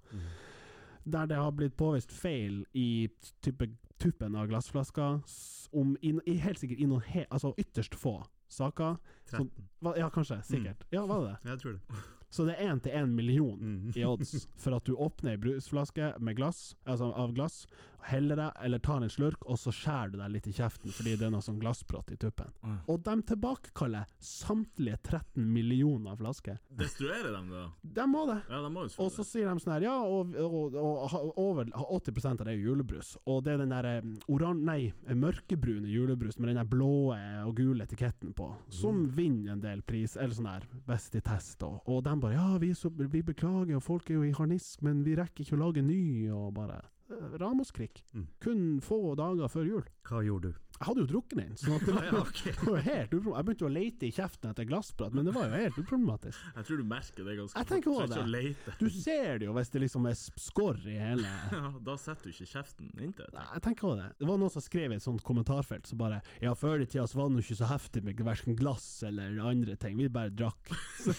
S2: der det har blitt påvist feil i type, tuppen av glassflasker, s- om i, i helt sikkert i noen he, altså ytterst få saker.
S3: 13.
S2: Hva- Ja, kanskje. Sikkert. Ja, var det det?
S3: Jeg tror det.
S2: Så det er én til én million
S3: Mm.
S2: i odds for at du åpner ei brusflaske med glass, altså av glass, heller deg, eller tar en slurk, og så skjærer du deg litt i kjeften fordi det er noe sånn glassbrott i tuppen.
S1: Ja.
S2: Og de tilbakekaller samtlige 13 millioner flasker.
S1: Destruere dem, da.
S2: De må det!
S1: Ja, de må jo
S2: Og så
S1: selvfølgelig.
S2: sier de sånn her, ja, og, og, og, ha- over 80 av det er jo julebrus. Og det er den der eh, oran... Nei, mørkebrune julebrus med den der blå eh, og gule etiketten på,
S3: Mm.
S2: som vinner en del pris, eller sånn her, best i test. Og, og de bare, ja, vi, er så, vi beklager, og folk er jo i harnisk, men vi rekker ikke å lage ny, og bare eh, Ramoskrik.
S3: Mm.
S2: Kun få dager før jul.
S3: Hva gjorde du?
S2: Jeg hadde jo drukket den, sånn at det var,
S3: Ja, ok.
S2: det var helt uproblematisk. Jeg begynte å leite i kjeften etter glassbrat, men det var jo helt uproblematisk.
S1: Jeg tror du merker det ganske
S2: Jeg tenker
S1: fort,
S2: også
S1: så ikke å lete.
S2: Du ser det jo hvis det liksom er sp- skorr i hele
S1: Ja, da setter du ikke kjeften inntil.
S2: Nei, jeg tenker også det. Det var noen som skrev i et sånt kommentarfelt som bare Ja, før i tida så var det jo ikke så heftig med hverken glass eller andre ting, vi bare drakk. Så,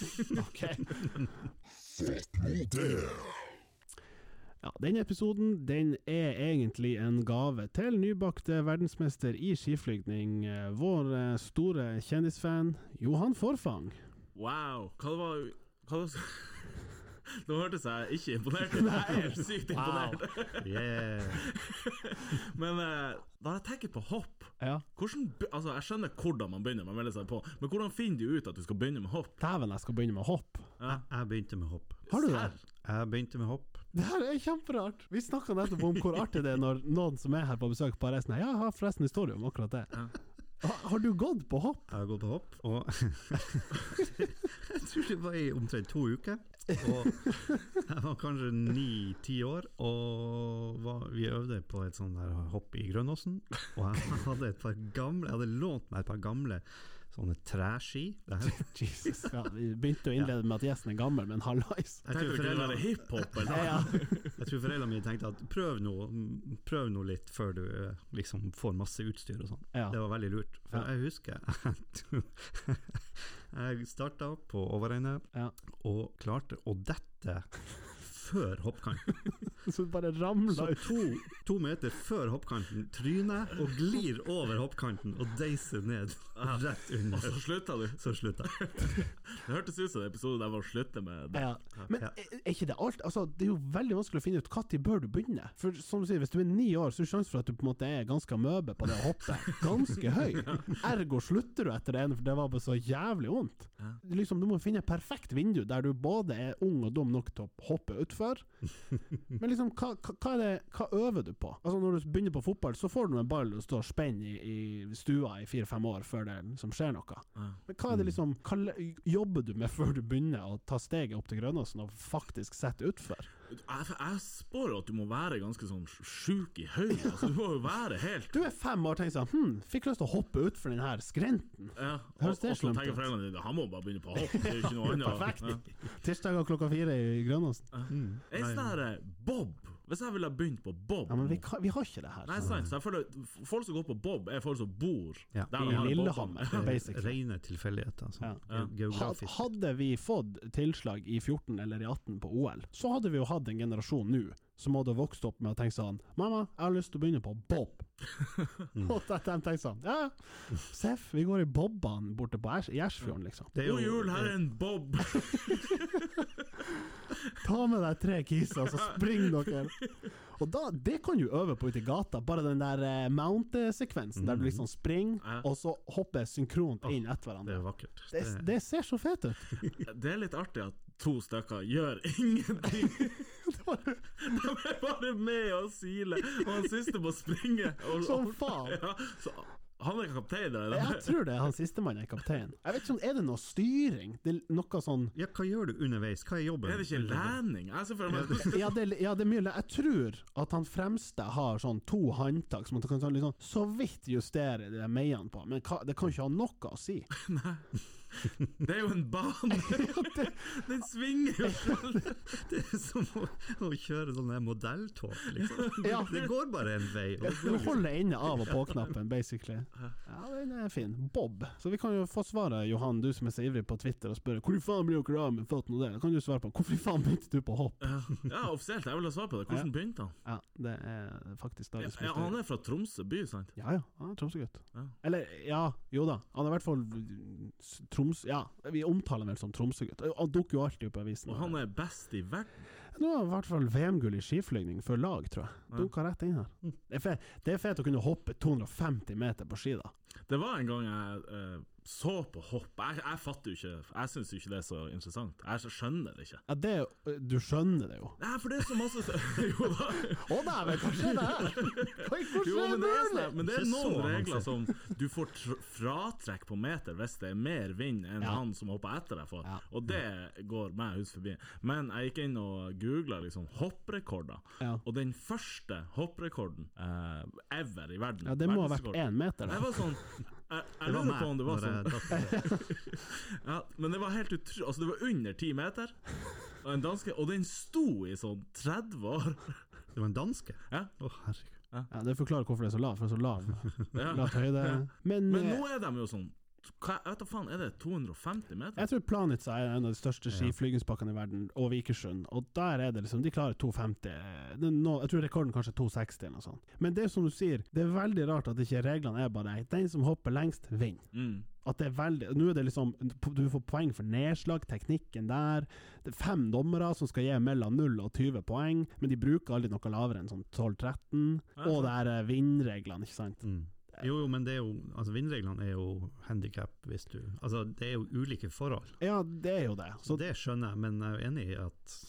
S2: ok. Ja, den episoden den er egentlig en gave til nybakte verdensmester i skiflygning, eh, vår eh, store kjendisfan Johan Forfang.
S1: Wow, hva det var Hva det var Nå hørtes jeg ikke imponert ut. Jeg er sykt imponert.
S3: Yeah.
S1: Men eh, da jeg tenker på hopp
S2: Ja.
S1: hvordan, be- altså, Jeg skjønner hvordan man begynner med å melde seg på, men hvordan finner du ut at du skal begynne med hopp?
S2: Dæven, jeg skal begynne med hopp.
S1: Ja.
S3: Jeg begynte med hopp.
S2: Har du det?
S1: Serr?
S3: Jeg begynte med hopp.
S2: Det her er kjemperart! Vi snakka nettopp om hvor artig det er når noen som er her på besøk, bare er sånn Ja, jeg har forresten historie om akkurat det.
S1: Ja.
S2: Ha, har du gått på hopp?
S3: Jeg har gått på hopp, og jeg tror det var i omtrent to uker. Og jeg var kanskje ni-ti år, og var, vi øvde på et sånn der hopp i Grønåsen. Og jeg hadde et par gamle Jeg hadde lånt meg et par gamle sånne treski. Det her-
S2: Jesus. Ja, vi begynte å innlede med at gjesten er gammel, men hallais.
S3: Jeg
S1: Tenkte du
S3: tror
S1: kunne
S3: foreldrene-
S1: være hiphop, eller?
S2: Ja,
S3: jeg tror foreldrene mine tenkte at prøv nå, prøv nå litt før du eh, liksom får masse utstyr og sånn.
S2: ja.
S3: Det var veldig lurt, for
S2: Ja.
S3: jeg husker at jeg starta på Overøyne
S2: Ja.
S3: og klarte å dette før hoppkanten.
S2: Så det bare
S3: Så
S2: ramla ut.
S3: to, to meter før hoppkanten tryner jeg og glir over hoppkanten og deiser ned rett
S1: Og
S3: under.
S1: så slutta du.
S3: Så slutta jeg.
S1: Det hørtes ut som en episode der man slutter med det.
S2: Ja. Men
S3: Ja.
S2: er er ikke det alt? Altså, det er jo veldig vanskelig å finne ut når bør du begynne. For som du sier, hvis du er ni år, så er det sjansen for at du på en måte er ganske amøbe på det å hoppe, ganske høy. Ergo slutter du etter det ene, for det var bare så jævlig vondt.
S1: Ja.
S2: Liksom, du må finne et perfekt vindu der du både er ung og dum nok til å hoppe utfor, før. Men liksom, hva, hva, hva er det, hva øver du på? Altså Når du begynner på fotball, så får du en ball og står spenn i, i stua i fire-fem år før det liksom skjer noe.
S1: Ja.
S2: Men hva er det liksom Hva le- jobber du med før du begynner å ta steget opp til Grønåsen og faktisk sette utfor?
S1: Jeg, jeg spår at du må være ganske sånn sjuk i høyden. Altså, du må jo være helt
S2: Du er fem år og tenker sånn Hm, fikk lyst til å hoppe utfor denne skrenten.
S1: ja, og, og
S2: Høres det
S1: så
S2: slemt
S1: tenker
S2: ut?
S1: foreldrene dine han må bare begynne på hopp. Det er jo ikke noe annet.
S2: Perfekt.
S1: Ja.
S2: Tirsdager klokka fire i Grønåsen.
S3: Mm.
S1: En sånn her eh, Bob. Hvis jeg ville ha begynt på Bob
S2: Ja, men vi, kan, vi har ikke det her.
S1: Mm.
S2: sånn.
S1: Nei, sant. Så jeg føler at f- folk som går på Bob, er folk som bor
S3: Ja.
S1: der
S2: I
S1: de har Bob.
S2: Lillehammer, basically.
S3: Rene tilfeldigheter, sånn
S1: Ja.
S2: Had-
S3: geografisk.
S2: Hadde vi fått tilslag i 14 eller i 18 på OL, så hadde vi jo hatt en generasjon nå som hadde vokst opp med å tenke sånn Mamma, jeg har lyst til å begynne på bob. Og de tenkte sånn Ja, ja. Seff, vi går i bobbene borte på Æsj- i Gjersfjorden, liksom.
S3: Det er jo-
S1: God jul, her er en Bob!
S2: Ta med deg tre kiser, så springer dere. Og da, det kan du øve på ute i gata, bare den der eh, mount-sekvensen, der du liksom
S1: Ja.
S2: springer, og så hopper synkront inn etter
S3: Det
S2: hverandre.
S3: er vakkert.
S2: Det,
S3: Det-
S2: det ser så fett ut.
S1: Det er litt artig at to stykker gjør ingenting. De er bare med og siler, og han siste må springe. Og,
S2: Som faen.
S1: Ja, så han er kaptein der.
S2: Jeg tror det er han sistemann er kaptein. Jeg vet ikke om, Er det noe styring? Det er noe sånn
S3: Ja, hva gjør du underveis? Hva er jobben?
S1: Er det ikke landing? Jeg ser for meg
S2: ja det, er- ja, det er mye Jeg tror at han fremste har sånn to håndtak som man kan sånn, liksom, så vidt justere de der meiene på, men hva, det kan ikke ha noe å si.
S1: Det er jo en bane! Den svinger jo selv.
S3: Det er som å, å kjøre sånn der modelltog, liksom.
S2: Ja.
S3: Det går bare en vei. Og
S2: Du holder inne av og på-knappen, basically. Ja, den er fin. Bob. Så vi kan jo få svaret, Johan, du som er så ivrig på Twitter og spør hvor i faen blir dere av med foten og det? Da kan du svare på hvorfor i faen begynte du på hopp?
S1: Ja, offisielt, jeg vil ha svar på det. Hvordan begynte han?
S2: Ja, det er faktisk
S1: Ja,
S2: dagens
S1: ja,
S2: mysterie.
S1: han er fra Tromsø by, sant?
S2: Ja ja, han er Tromsø-gutt.
S1: Ja.
S2: Eller, ja, jo da. Han er i hvert fall s- Troms... Ja, vi omtaler ham vel som Tromsø-gutt. Han dukker jo alltid opp i avisen.
S1: Og han er best i verden.
S2: Nå har han i hvert fall VM-gull i skiflygning for lag, tror jeg. Dunka rett inn her.
S1: Hm.
S2: Det er, fet, det er fett å kunne hoppe 250 meter på ski, da.
S1: Det var en gang jeg eh, så på hopp. Jeg, jeg fatter jo ikke Jeg syns jo ikke det er så interessant. Jeg skjønner det ikke.
S2: Ja, det er jo- Du skjønner det jo.
S1: Nei, for det er så masse Jo da.
S2: Å dæven, hva skjer det her?! Hva hvordan
S1: Jo,
S2: er
S1: men det er,
S2: mulig?!
S1: sånn- men det er
S3: Ikke
S1: noen
S3: så
S1: regler
S3: avansert.
S1: som Du får tr fratrekk på meter hvis det er mer vind enn
S2: Ja.
S1: han som hopper etter deg får.
S2: Ja.
S1: Og det går meg hus forbi. Men jeg gikk inn og googla liksom hopprekorder,
S2: Ja.
S1: og den første hopprekorden eh, ever i verden
S2: Ja, det må ha vært
S1: verdensrekord,
S2: én meter,
S1: Jeg
S2: da.
S1: var sånn Jeg, jeg lurer på om det var sånn ja, Men det var helt utrolig Altså, det var under ti meter, og en danske Og den sto i sånn 30 år.
S3: Det var en danske?
S1: Ja.
S3: Å, herregud.
S2: Ja, det forklarer hvorfor det er så lav, for det er så lav,
S1: Ja.
S2: lavt høyde. Men,
S1: Men
S2: eh,
S1: nå er de jo sånn hva, jeg vet da faen, Er det 250 meter?
S2: Jeg tror Planica er en av de største skiflygingspakkene i verden, og Vikersund. Og der er det liksom, de klarer 2,50. eh, det er nå- Jeg tror rekorden kanskje er 2,60 eller noe sånt. Men det er som du sier, det er veldig rart at ikke reglene er bare den som hopper lengst, vinner.
S1: Mm.
S2: At det er veldig Nå er det liksom Du får poeng for nedslag, teknikken der. Det er fem dommere som skal gi mellom 0 og 20 poeng, men de bruker aldri noe lavere enn sånn 12-13.
S1: Ja,
S2: Og det er eh, vindreglene, ikke sant.
S3: Mm. Jo, jo, men det er jo Altså, vindreglene er jo handikap hvis du Altså, det er jo ulike forhold.
S2: Ja, det er jo det.
S3: Så
S2: Så
S3: det skjønner jeg, men jeg er jo enig i at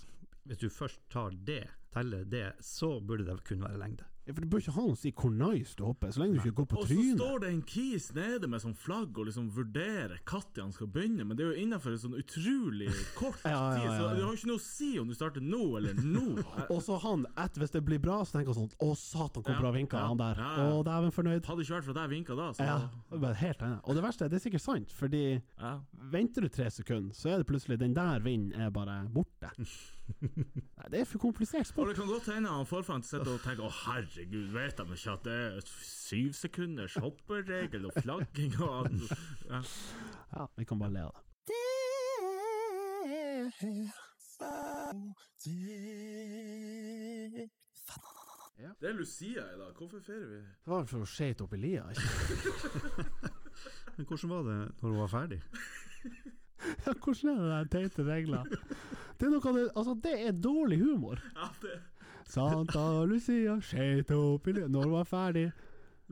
S3: hvis du først tar det, teller det, så burde det kun være lengde.
S2: For det bør ikke ha noe å si hvor nice du hopper, så lenge du ikke går på
S1: Og så
S2: trynet.
S1: står det en kis nede med sånn flagg og liksom vurderer når han skal begynne, men det er jo innenfor en sånn utrolig kort
S2: Ja, ja,
S1: tid,
S2: ja,
S1: så
S2: ja.
S1: det har jo ikke noe å si om du starter nå eller nå. Jeg
S2: Og så han, et, hvis det blir bra, så tenker han sånn Å, satan, hvor
S1: Ja,
S2: bra vinka
S1: ja,
S2: han der.
S1: ja,
S2: Å,
S1: ja.
S2: dæven fornøyd.
S1: hadde ikke vært for at jeg vinka da, så
S2: Ja, men helt enig. Og det verste, er, det er sikkert sant, fordi
S1: ja.
S2: venter du tre sekunder, så er det plutselig den der vinden er bare borte. Nei, det er for komplisert
S1: Og
S2: sport.
S1: det kan godt hende han forfant sitter og tenker 'Å, herregud, vet de ikke at det er syv sekunders hopperegel og flagging' og alt?' Ja.
S2: Ja, vi kan bare le av det.
S1: Det er Lucia i dag, hvorfor feirer vi?
S2: Det var for å skeite opp i lia, ikke
S3: Men hvordan var det når hun var ferdig?
S2: Ja, Hvordan er det der teite regler? Det er noe av det Altså, det er dårlig humor.
S1: Ja, det
S2: Santa Lucia skeite opp i lia Når var ferdig?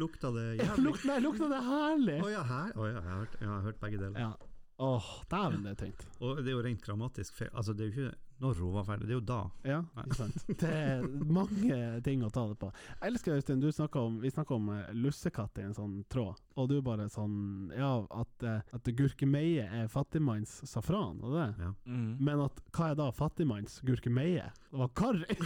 S3: Lukta det
S2: Ja,
S3: jævlig?
S2: luk, nei, lukta det herlig?
S3: Å ja, her? Å ja, jeg har hørt, jeg har hørt begge deler.
S2: Ja. Åh, dæven, det er tenkt.
S3: Og det er jo rent grammatisk feil. Altså, det er jo ikke når hun var ferdig, det er jo da.
S2: Ja, ikke sant. Det er mange ting å ta det på. Jeg elsker Øystein, du snakket om, vi snakka om eh, lussekatt i en sånn tråd, og du bare sånn Ja, at, eh, at gurkemeie er fattigmanns safran, og det.
S1: Mm.
S2: Men at hva er da fattigmanns gurkemeie? Det var karri!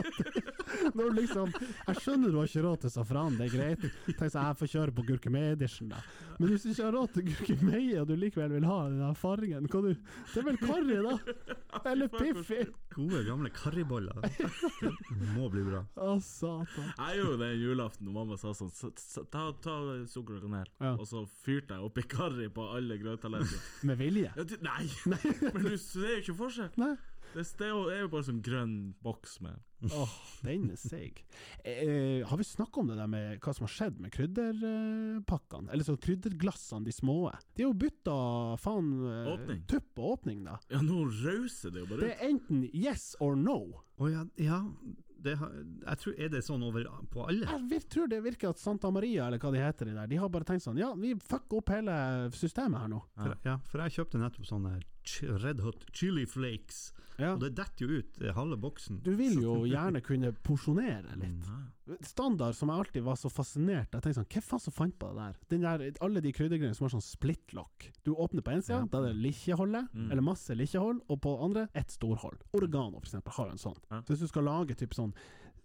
S2: Når du liksom Jeg skjønner du har ikke råd til safran, det er greit. Tenk så jeg får kjøre på gurkemeie-edition, da. Men hvis du ikke har råd til gurkemeie, og du likevel vil ha den der fargen, hva du Det er vel karri, da? Eller Piffi?
S3: Gode, gamle karriboller. Det må bli bra.
S2: Å, satan.
S1: Jeg gjorde jo det en julaften når mamma sa sånn "S- s- Ta, ta sukker og kanel,
S2: Ja.
S1: og så fyrte jeg oppi karri på alle grøttallerkenene.
S2: Med vilje?
S1: Ja, du- Nei! Men du ser jo ikke forskjell.
S2: Nei.
S1: Det det er jo- det er jo bare sånn grønn boks med
S2: Åh, den er seig. Eh, har vi snakka om det der med hva som har skjedd med krydderpakkene? Eller så krydderglassene, de små? De har jo bytta faen eh,
S1: Åpning.
S2: tupp og åpning, da.
S1: Ja, nå rauser det jo bare
S2: Det
S1: ut.
S2: er enten yes or no.
S3: Å ja, ja det, har- jeg tror, Er det sånn over på alle?
S2: Jeg vir- tror det virker at Santa Maria, eller hva de heter de der, de har bare tenkt sånn Ja, vi fucker opp hele systemet her nå.
S1: Ja.
S3: For, ja, for jeg kjøpte nettopp sånne ch Red Hot Chili Flakes,
S2: Ja.
S3: og det detter jo ut eh, halve boksen.
S2: Du vil jo gjerne kunne porsjonere litt.
S1: Nei.
S2: standard som jeg alltid var så fascinert Jeg tenkte sånn, hvem faen som fant på det der? Den der alle de kryddergreiene som har sånn splittlock. Du åpner på én side,
S3: Ja.
S2: da er det likkjeholdet,
S1: Mm.
S2: eller masse likkjehold, og på andre ett storhold. Oregano, for eksempel, har jo en sånn.
S1: Ja.
S2: Så hvis du skal lage typ sånn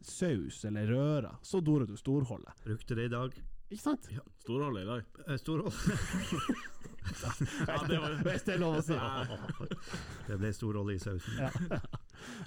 S2: saus eller røre, så dorer du storholdet.
S3: Brukte det i dag.
S2: Ikke sant?
S1: Storholdet i dag.
S3: Eh, Storhold.
S1: Ja, det var
S2: Hvis det er lov å si.
S3: Det ble storhold i sausen.
S2: Ja.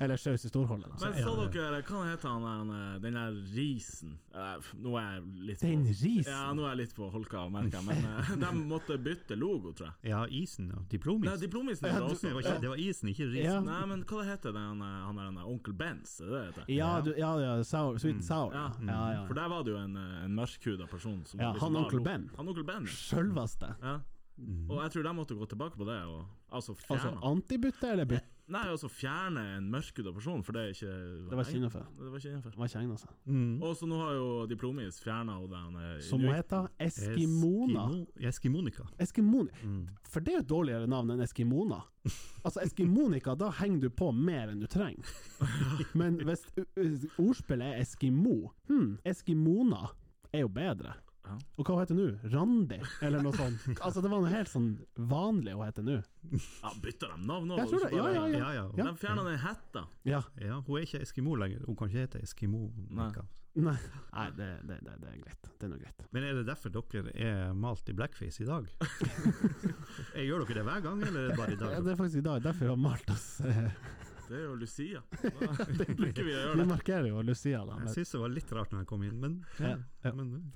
S2: Eller saus i storholdet, da.
S1: Men så dere, hva heter han der, den der risen? Eh, Nå er jeg litt
S2: Den
S1: på
S2: risen!
S1: Ja, nå er jeg litt på holka og merka, men eh, de måtte bytte logo, tror jeg.
S3: Ja, isen, ja.
S1: Nei,
S3: Diplomis.
S1: diplomisen
S2: Ja,
S1: er det
S2: du-
S1: også.
S3: Det var, ikke, det var isen, ikke risen.
S2: Ja.
S1: Nei, men hva heter den, eh, han der han der onkel Benz? Er det det heter?
S2: Ja, du, ja, ja, sour, sweet and sour.
S1: Mm. Ja.
S2: Ja, ja,
S1: For
S2: ja.
S1: der var det liksom jo en, eh, en mørkhuda person som
S2: Ja, han
S1: var
S2: onkel
S1: lo-
S2: Ben.
S1: Han onkel Ben, ja.
S2: Sjølveste.
S1: ja.
S3: Mm.
S1: Og jeg tror de måtte gå tilbake på det, og, altså
S2: Altså
S1: fjerne
S2: antibytte eller bytte?
S1: Nei, altså fjerne en mørkhuda person, for det er ikke
S2: Det var ikke innenfor.
S1: Det var ikke innenfor.
S2: Det var ikke altså. egna seg.
S3: Mm.
S1: Og så nå har jo Diplomis fjerna den eh,
S2: Som hun heter? Eskimona?
S3: Eskimo- Eskimonika.
S2: Eskimoni.
S3: Mm.
S2: For det er jo et dårligere navn enn Eskimona. Altså, Eskimonika, da henger du på mer enn du trenger. Men hvis ø, ø, ordspillet er Eskimo hmm, Eskimona er jo bedre.
S1: Ja.
S2: Og hva hun heter nå? Randi, eller noe sånt? Altså, det var noe helt sånn vanlig hun heter nå.
S1: Ja, bytter de navn nå? var
S2: Jeg
S1: det
S2: tror
S1: ikke
S2: det. Ja,
S1: bare-
S2: ja, ja.
S3: Ja, ja.
S1: De fjerna den hetta.
S2: ja.
S3: Ja, hun er ikke Eskimo lenger. Hun kan ikke hete Eskimonika.
S2: Nei, Nei det, det, det, det er greit. Det er nå greit.
S3: Men er det derfor dere er malt i blackface i dag? Eh, Gjør dere det hver gang, eller er det bare i
S2: Ja,
S3: dag?
S2: det er faktisk i dag derfor vi har malt oss eh,
S1: Det er jo Lucia. Da bruker vi å gjøre
S2: Vi
S1: det.
S2: markerer jo Lucia, da.
S3: Jeg
S2: Men,
S3: synes det var litt rart når jeg kom inn, men,
S2: Ja, ja.
S3: men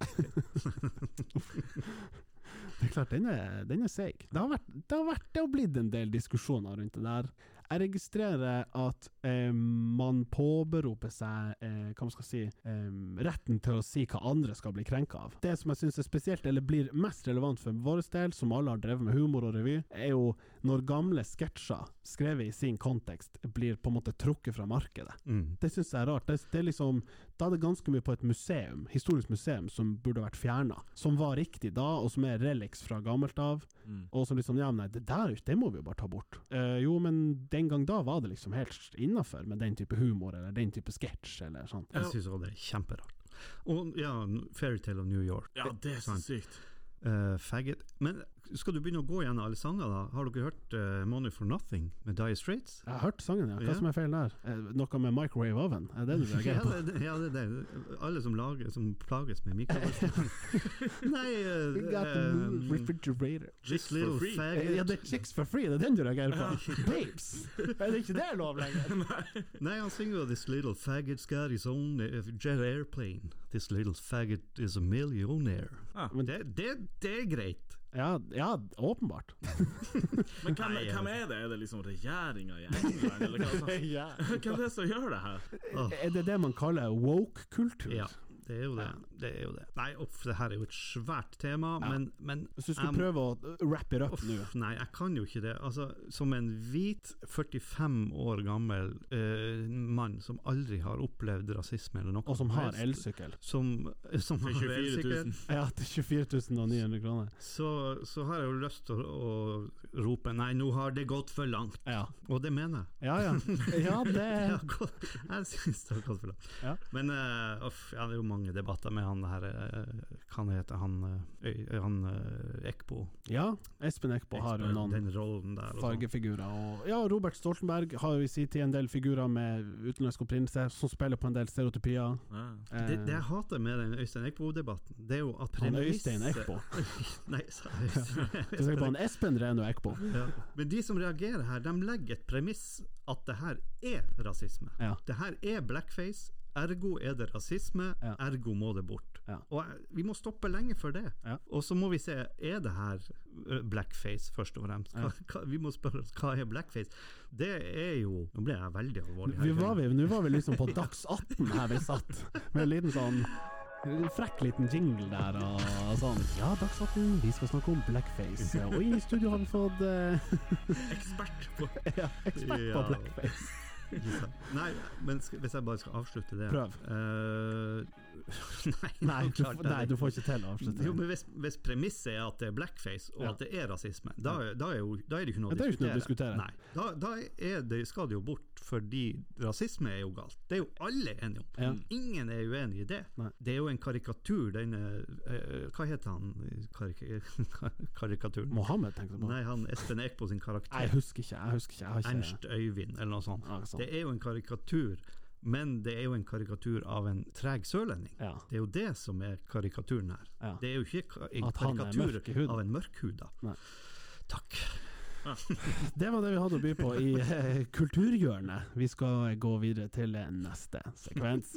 S2: Det er klart, den er, den er seig. Det har vært, det har vært det har blitt en del diskusjoner rundt det der. Jeg registrerer at eh, man påberoper seg eh, hva man skal si, eh, retten til å si hva andre skal bli krenka av. Det som jeg syns er spesielt, eller blir mest relevant for vår del, som alle har drevet med humor og revy, er jo når gamle sketsjer, skrevet i sin kontekst, blir på en måte trukket fra markedet.
S3: mm.
S2: Det syns jeg er rart. Det, det er liksom, da er det ganske mye på et museum, historisk museum, som burde vært fjerna. Som var riktig da, og som er reliks fra gammelt av.
S1: Mm.
S2: Og som liksom, ja, men nei, det der det må vi jo bare ta bort. Eh, jo, men den gang da var det liksom helt innafor med den type humor, eller den type sketsj, eller sånn.
S1: Ja.
S3: Jeg synes også det er kjemperart. Og ja, Fairytale of New York.
S1: Ja, det er så
S3: Sant.
S1: sykt.
S3: Eh, faggot. Men skal du begynne å gå igjen alle sanger, da? Har dere hørt eh, Money for Nothing med Dire Straits?
S2: Jeg har hørt sangen, ja. Hva
S3: Ja.
S2: som er feil der? Eh, noe med microwave oven? Er det det du
S3: Ja,
S2: reagerer på?
S3: det, ja, det, det. Alle som, lager, som plages med mikrofoner. Nei eh,
S2: We got the
S3: eh,
S2: new refrigerator.
S1: Chicks
S3: This
S1: for
S3: little
S1: free.
S2: Eh, Ja,
S3: faggot
S2: det er Chicks for free, det er den du reagerer på? Babes! Er det ikke det lov lenger?
S3: Nei, han synger jo 'This little faggot's got his own eh, jet airplane'. 'This little faggot is a millionaire'.
S1: Ah.
S2: Men-
S3: det, det, det er greit.
S2: Ja, ja åpenbart.
S1: Men hvem,
S3: Nei, ja.
S1: hvem er det? Er det liksom regjeringa i England, eller hva? sånn?
S2: ja.
S1: Hvem er det som gjør det her?
S3: Åh,
S2: Er det det man kaller woke-kultur?
S3: ja, det Det er jo det.
S2: Ja.
S3: det, er jo det. Nei, uff, det her er jo et svært tema,
S2: Ja.
S3: men, men
S2: Hvis du skulle
S3: Um,
S2: prøve å wrap it up
S3: uff,
S2: nå
S3: nei, jeg kan jo ikke det. Altså, som en hvit, 45 år gammel eh, mann som aldri har opplevd rasisme eller noe
S2: og som har
S3: helst,
S2: elsykkel
S3: Som, som
S1: For
S3: har
S1: 24
S3: elsikker,
S1: 000.
S2: Ja, til 24 900 kroner.
S3: så, så har jeg jo lyst til å, å rope nei, nå har det gått for langt.
S2: Ja,
S3: Og det mener jeg.
S2: ja. Ja, ja
S3: Det
S2: det
S3: har gått, jeg syns det har gått for langt.
S2: Ja.
S3: Men eh, uff, ja, det er jo mange debatter med han her eh, Hva han heter han? eh, Øy- han eh, Ekbo.
S2: Ja, Espen Eckbo har jo
S3: Ekbo,
S2: noen
S3: Den rollen der. og sånn.
S2: fargefigurer. Og ja, Robert Stoltenberg har jo i sin tid en del figurer med utenlandsk opprinnelse som spiller på en del stereotypier.
S1: Ja.
S2: Eh,
S3: Det, det jeg hater med den Øystein Ekbo-debatten, det er jo at
S2: han
S3: premisset-
S2: Øystein Eckbo.
S3: Nei, sa jeg Øystein.
S2: Du tenker på han Espen Reno Eckbo?
S3: Ja. Men de som reagerer her, de legger et premiss at det her er rasisme.
S2: Ja.
S3: Det her er blackface, ergo er det rasisme,
S2: Ja.
S3: ergo må det bort.
S2: Ja.
S3: Og jeg- vi må stoppe lenge for det.
S2: Ja.
S3: Og så må vi se, er det her ø, blackface, først og fremst? Hva, hva, vi må spørre oss, hva er blackface? Det er jo Nå ble jeg veldig alvorlig. her.
S2: Vi var vi, nå var vi liksom på dags 18 her vi satt, med en liten sånn frekk liten jingle der og sånn. Ja, dags 18, vi skal snakke om blackface. Og inn i studio har vi fått eh,
S1: Ekspert på
S2: ja, ekspert på
S3: Ja.
S2: blackface.
S3: Ikke sant? Nei, men skal, hvis jeg bare skal avslutte det
S2: Prøv.
S3: Eh, nei,
S2: Nei, du,
S3: klart jeg-
S2: nei, du får ikke til å avslutte.
S3: Jo, men hvis, hvis premisset er at det er blackface, og
S2: Ja.
S3: at det er rasisme, da, da, er, jo, da er det ikke noe
S2: Ja, det er jo ikke noe å diskutere.
S3: Nei, da, da er det, skal det jo bort, fordi rasisme er jo galt. Det er jo alle enige om.
S2: Ja.
S3: Ingen er uenig i det.
S2: Nei.
S3: Det er jo en karikatur, denne eh, Hva heter han karik karikaturen?
S2: Mohammed, tenker du på?
S3: Nei, han Espen Eckbo sin
S2: Nei, jeg
S3: karakter.
S2: husker ikke. Jeg husker ikke. Jeg har ikke
S3: Ernst Øyvind, eller noe sånt.
S2: Ja, sånn. ikke sant.
S3: Det er jo en karikatur, men det er jo en karikatur av en treg sørlending.
S2: Ja,
S3: Det er jo det som er karikaturen her.
S2: ja.
S3: Det er jo ikke ka- en
S2: At han er
S3: karikatur
S2: mørk i huden.
S3: av en mørkhuda.
S2: Nei.
S3: Takk.
S2: Det var det vi hadde å by på i eh, kulturhjørnet. Vi skal gå videre til eh, neste sekvens.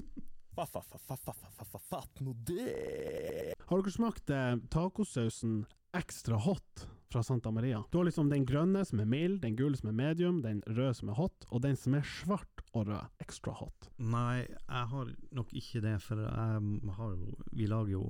S4: Fa-fa-fa-fa-fa-fa-fatt nå det!
S2: Har dere smakt eh, tacosausen ekstra hot fra Santa Maria? Du har liksom den grønne som er mild, den gule som er medium, den røde som er hot, og den som er svart og rød. Ekstra hot.
S3: Nei, jeg har nok ikke det, for jeg har jo Vi lager jo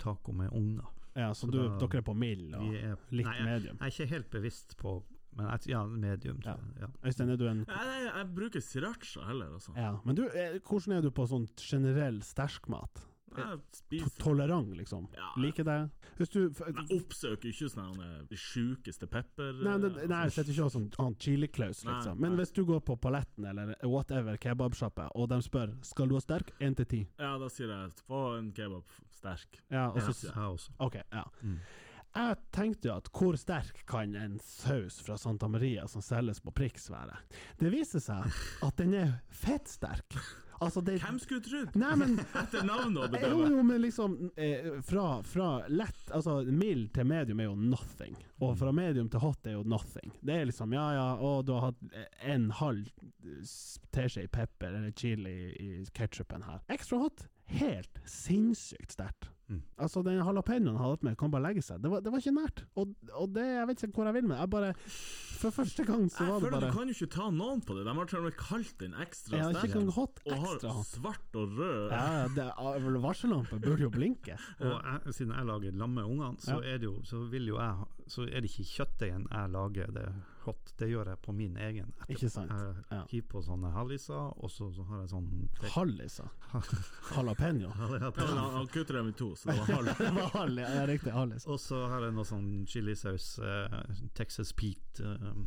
S3: taco med unger.
S2: Ja, så
S3: Så
S2: du,
S3: da-
S2: dere er på mild og
S3: Vi er
S2: litt
S3: Nei, jeg,
S2: medium.
S3: jeg er ikke helt bevisst på Men jeg, ja, medium. tror jeg, Ja.
S2: Øystein, er du en
S1: Nei, nei, jeg bruker sriracha heller, altså.
S2: Ja, men du, eh, hvordan er du på sånn generell sterkmat?
S1: Jeg
S2: To-
S1: spiser
S2: Tolerant, liksom?
S1: Ja.
S2: Liker det? Hvis du f-
S1: Jeg oppsøker ikke sånne her, eh, de sjukeste pepper...
S2: Nei, det,
S1: eh,
S2: nei jeg setter ikke av som han chiliklaus,
S1: Nei,
S2: liksom. Men
S1: nei.
S2: hvis du går på paletten eller whatever kebabsjappe, og de spør skal du ha sterk, én til ti
S1: Ja, da sier jeg få en kebab sterk.
S2: Ja, Mm. og
S1: Ja.
S2: så s-
S3: Jeg også.
S2: OK, ja. Jeg tenkte jo at hvor sterk kan en saus fra Santa Maria som selges på Prix være? Det viser seg at den er fettsterk. Altså, det
S1: Hvem skulle trodd?
S2: Nei, men
S1: Etter navnet å
S2: jo,
S1: bedømme.
S2: Eh, jo, men liksom eh, fra, fra lett Altså mild til medium er jo nothing. Og fra medium til hot er jo nothing. Det er liksom ja ja, og du har hatt eh, en halv eh, s- teskje pepper eller chili i ketsjupen her. Ekstra hot. Helt sinnssykt sterkt.
S3: Mm.
S2: Altså, den jalapeñoen jeg hadde hatt med, kan bare legge seg. Det var, det var ikke nært. Og, og det, jeg vet ikke hvor jeg vil med. Jeg bare For første gang så
S1: Jeg
S2: var det
S1: føler
S2: bare
S1: du kan jo ikke ta noen på det. De har til og med kalt den ekstra
S2: Jeg har ikke engang
S1: sterk.
S2: hot
S1: Og har
S2: ekstra hot.
S1: svart og rød
S2: Ja, ja, det, varsellampa burde jo blinke.
S3: Og jeg, siden jeg lager lam med ungene, så, er det jo, så, vil jo jeg, ha- så er det ikke kjøttdeigen jeg lager det hot. Det gjør jeg på min egen. etterpå.
S2: Ikke sant?
S3: Jeg
S2: Ja.
S3: hiver på sånne halliser, og så, så har jeg sånn
S2: Halliser. Jalapeño.
S1: Ja, men han, han kutter dem i to, så det var halv.
S2: Det var halv, ja, det er riktig. Hallis.
S3: Og så har jeg noe sånn chilisaus, eh, Texas Pete eh,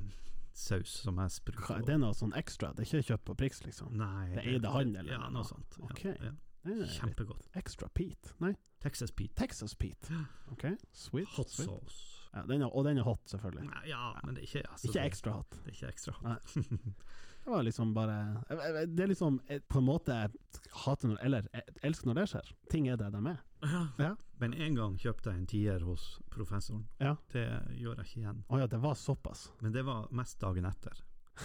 S3: saus som jeg spruter
S2: Hva-
S3: på.
S2: Det er noe sånn ekstra, det er ikke kjøpt på Prix, liksom?
S3: Nei,
S2: Det er det han, eller?
S3: Ja, noe sånt.
S2: Ok.
S3: Ja,
S2: Det
S3: ja.
S2: er
S3: Kjempegodt.
S2: Extra Pete? Nei,
S3: Texas Pete.
S2: Texas Pete. Ok, sweet.
S3: Hot
S2: sweet.
S3: sauce.
S2: Ja, den er, og den er hot, selvfølgelig.
S3: Nei, ja, men det er ikke altså,
S2: Ikke
S3: det-
S2: ekstra hot.
S3: Det er ikke ekstra.
S2: Nei. Det var liksom bare jeg- jeg- Det er liksom eh, på en måte jeg hater når Eller jeg elsker når det skjer. Ting er det de er.
S3: Men en gang kjøpte jeg en tier hos professoren.
S2: Ja.
S3: Det gjør jeg ikke igjen.
S2: Å ja, det var såpass.
S3: Men det var mest dagen etter.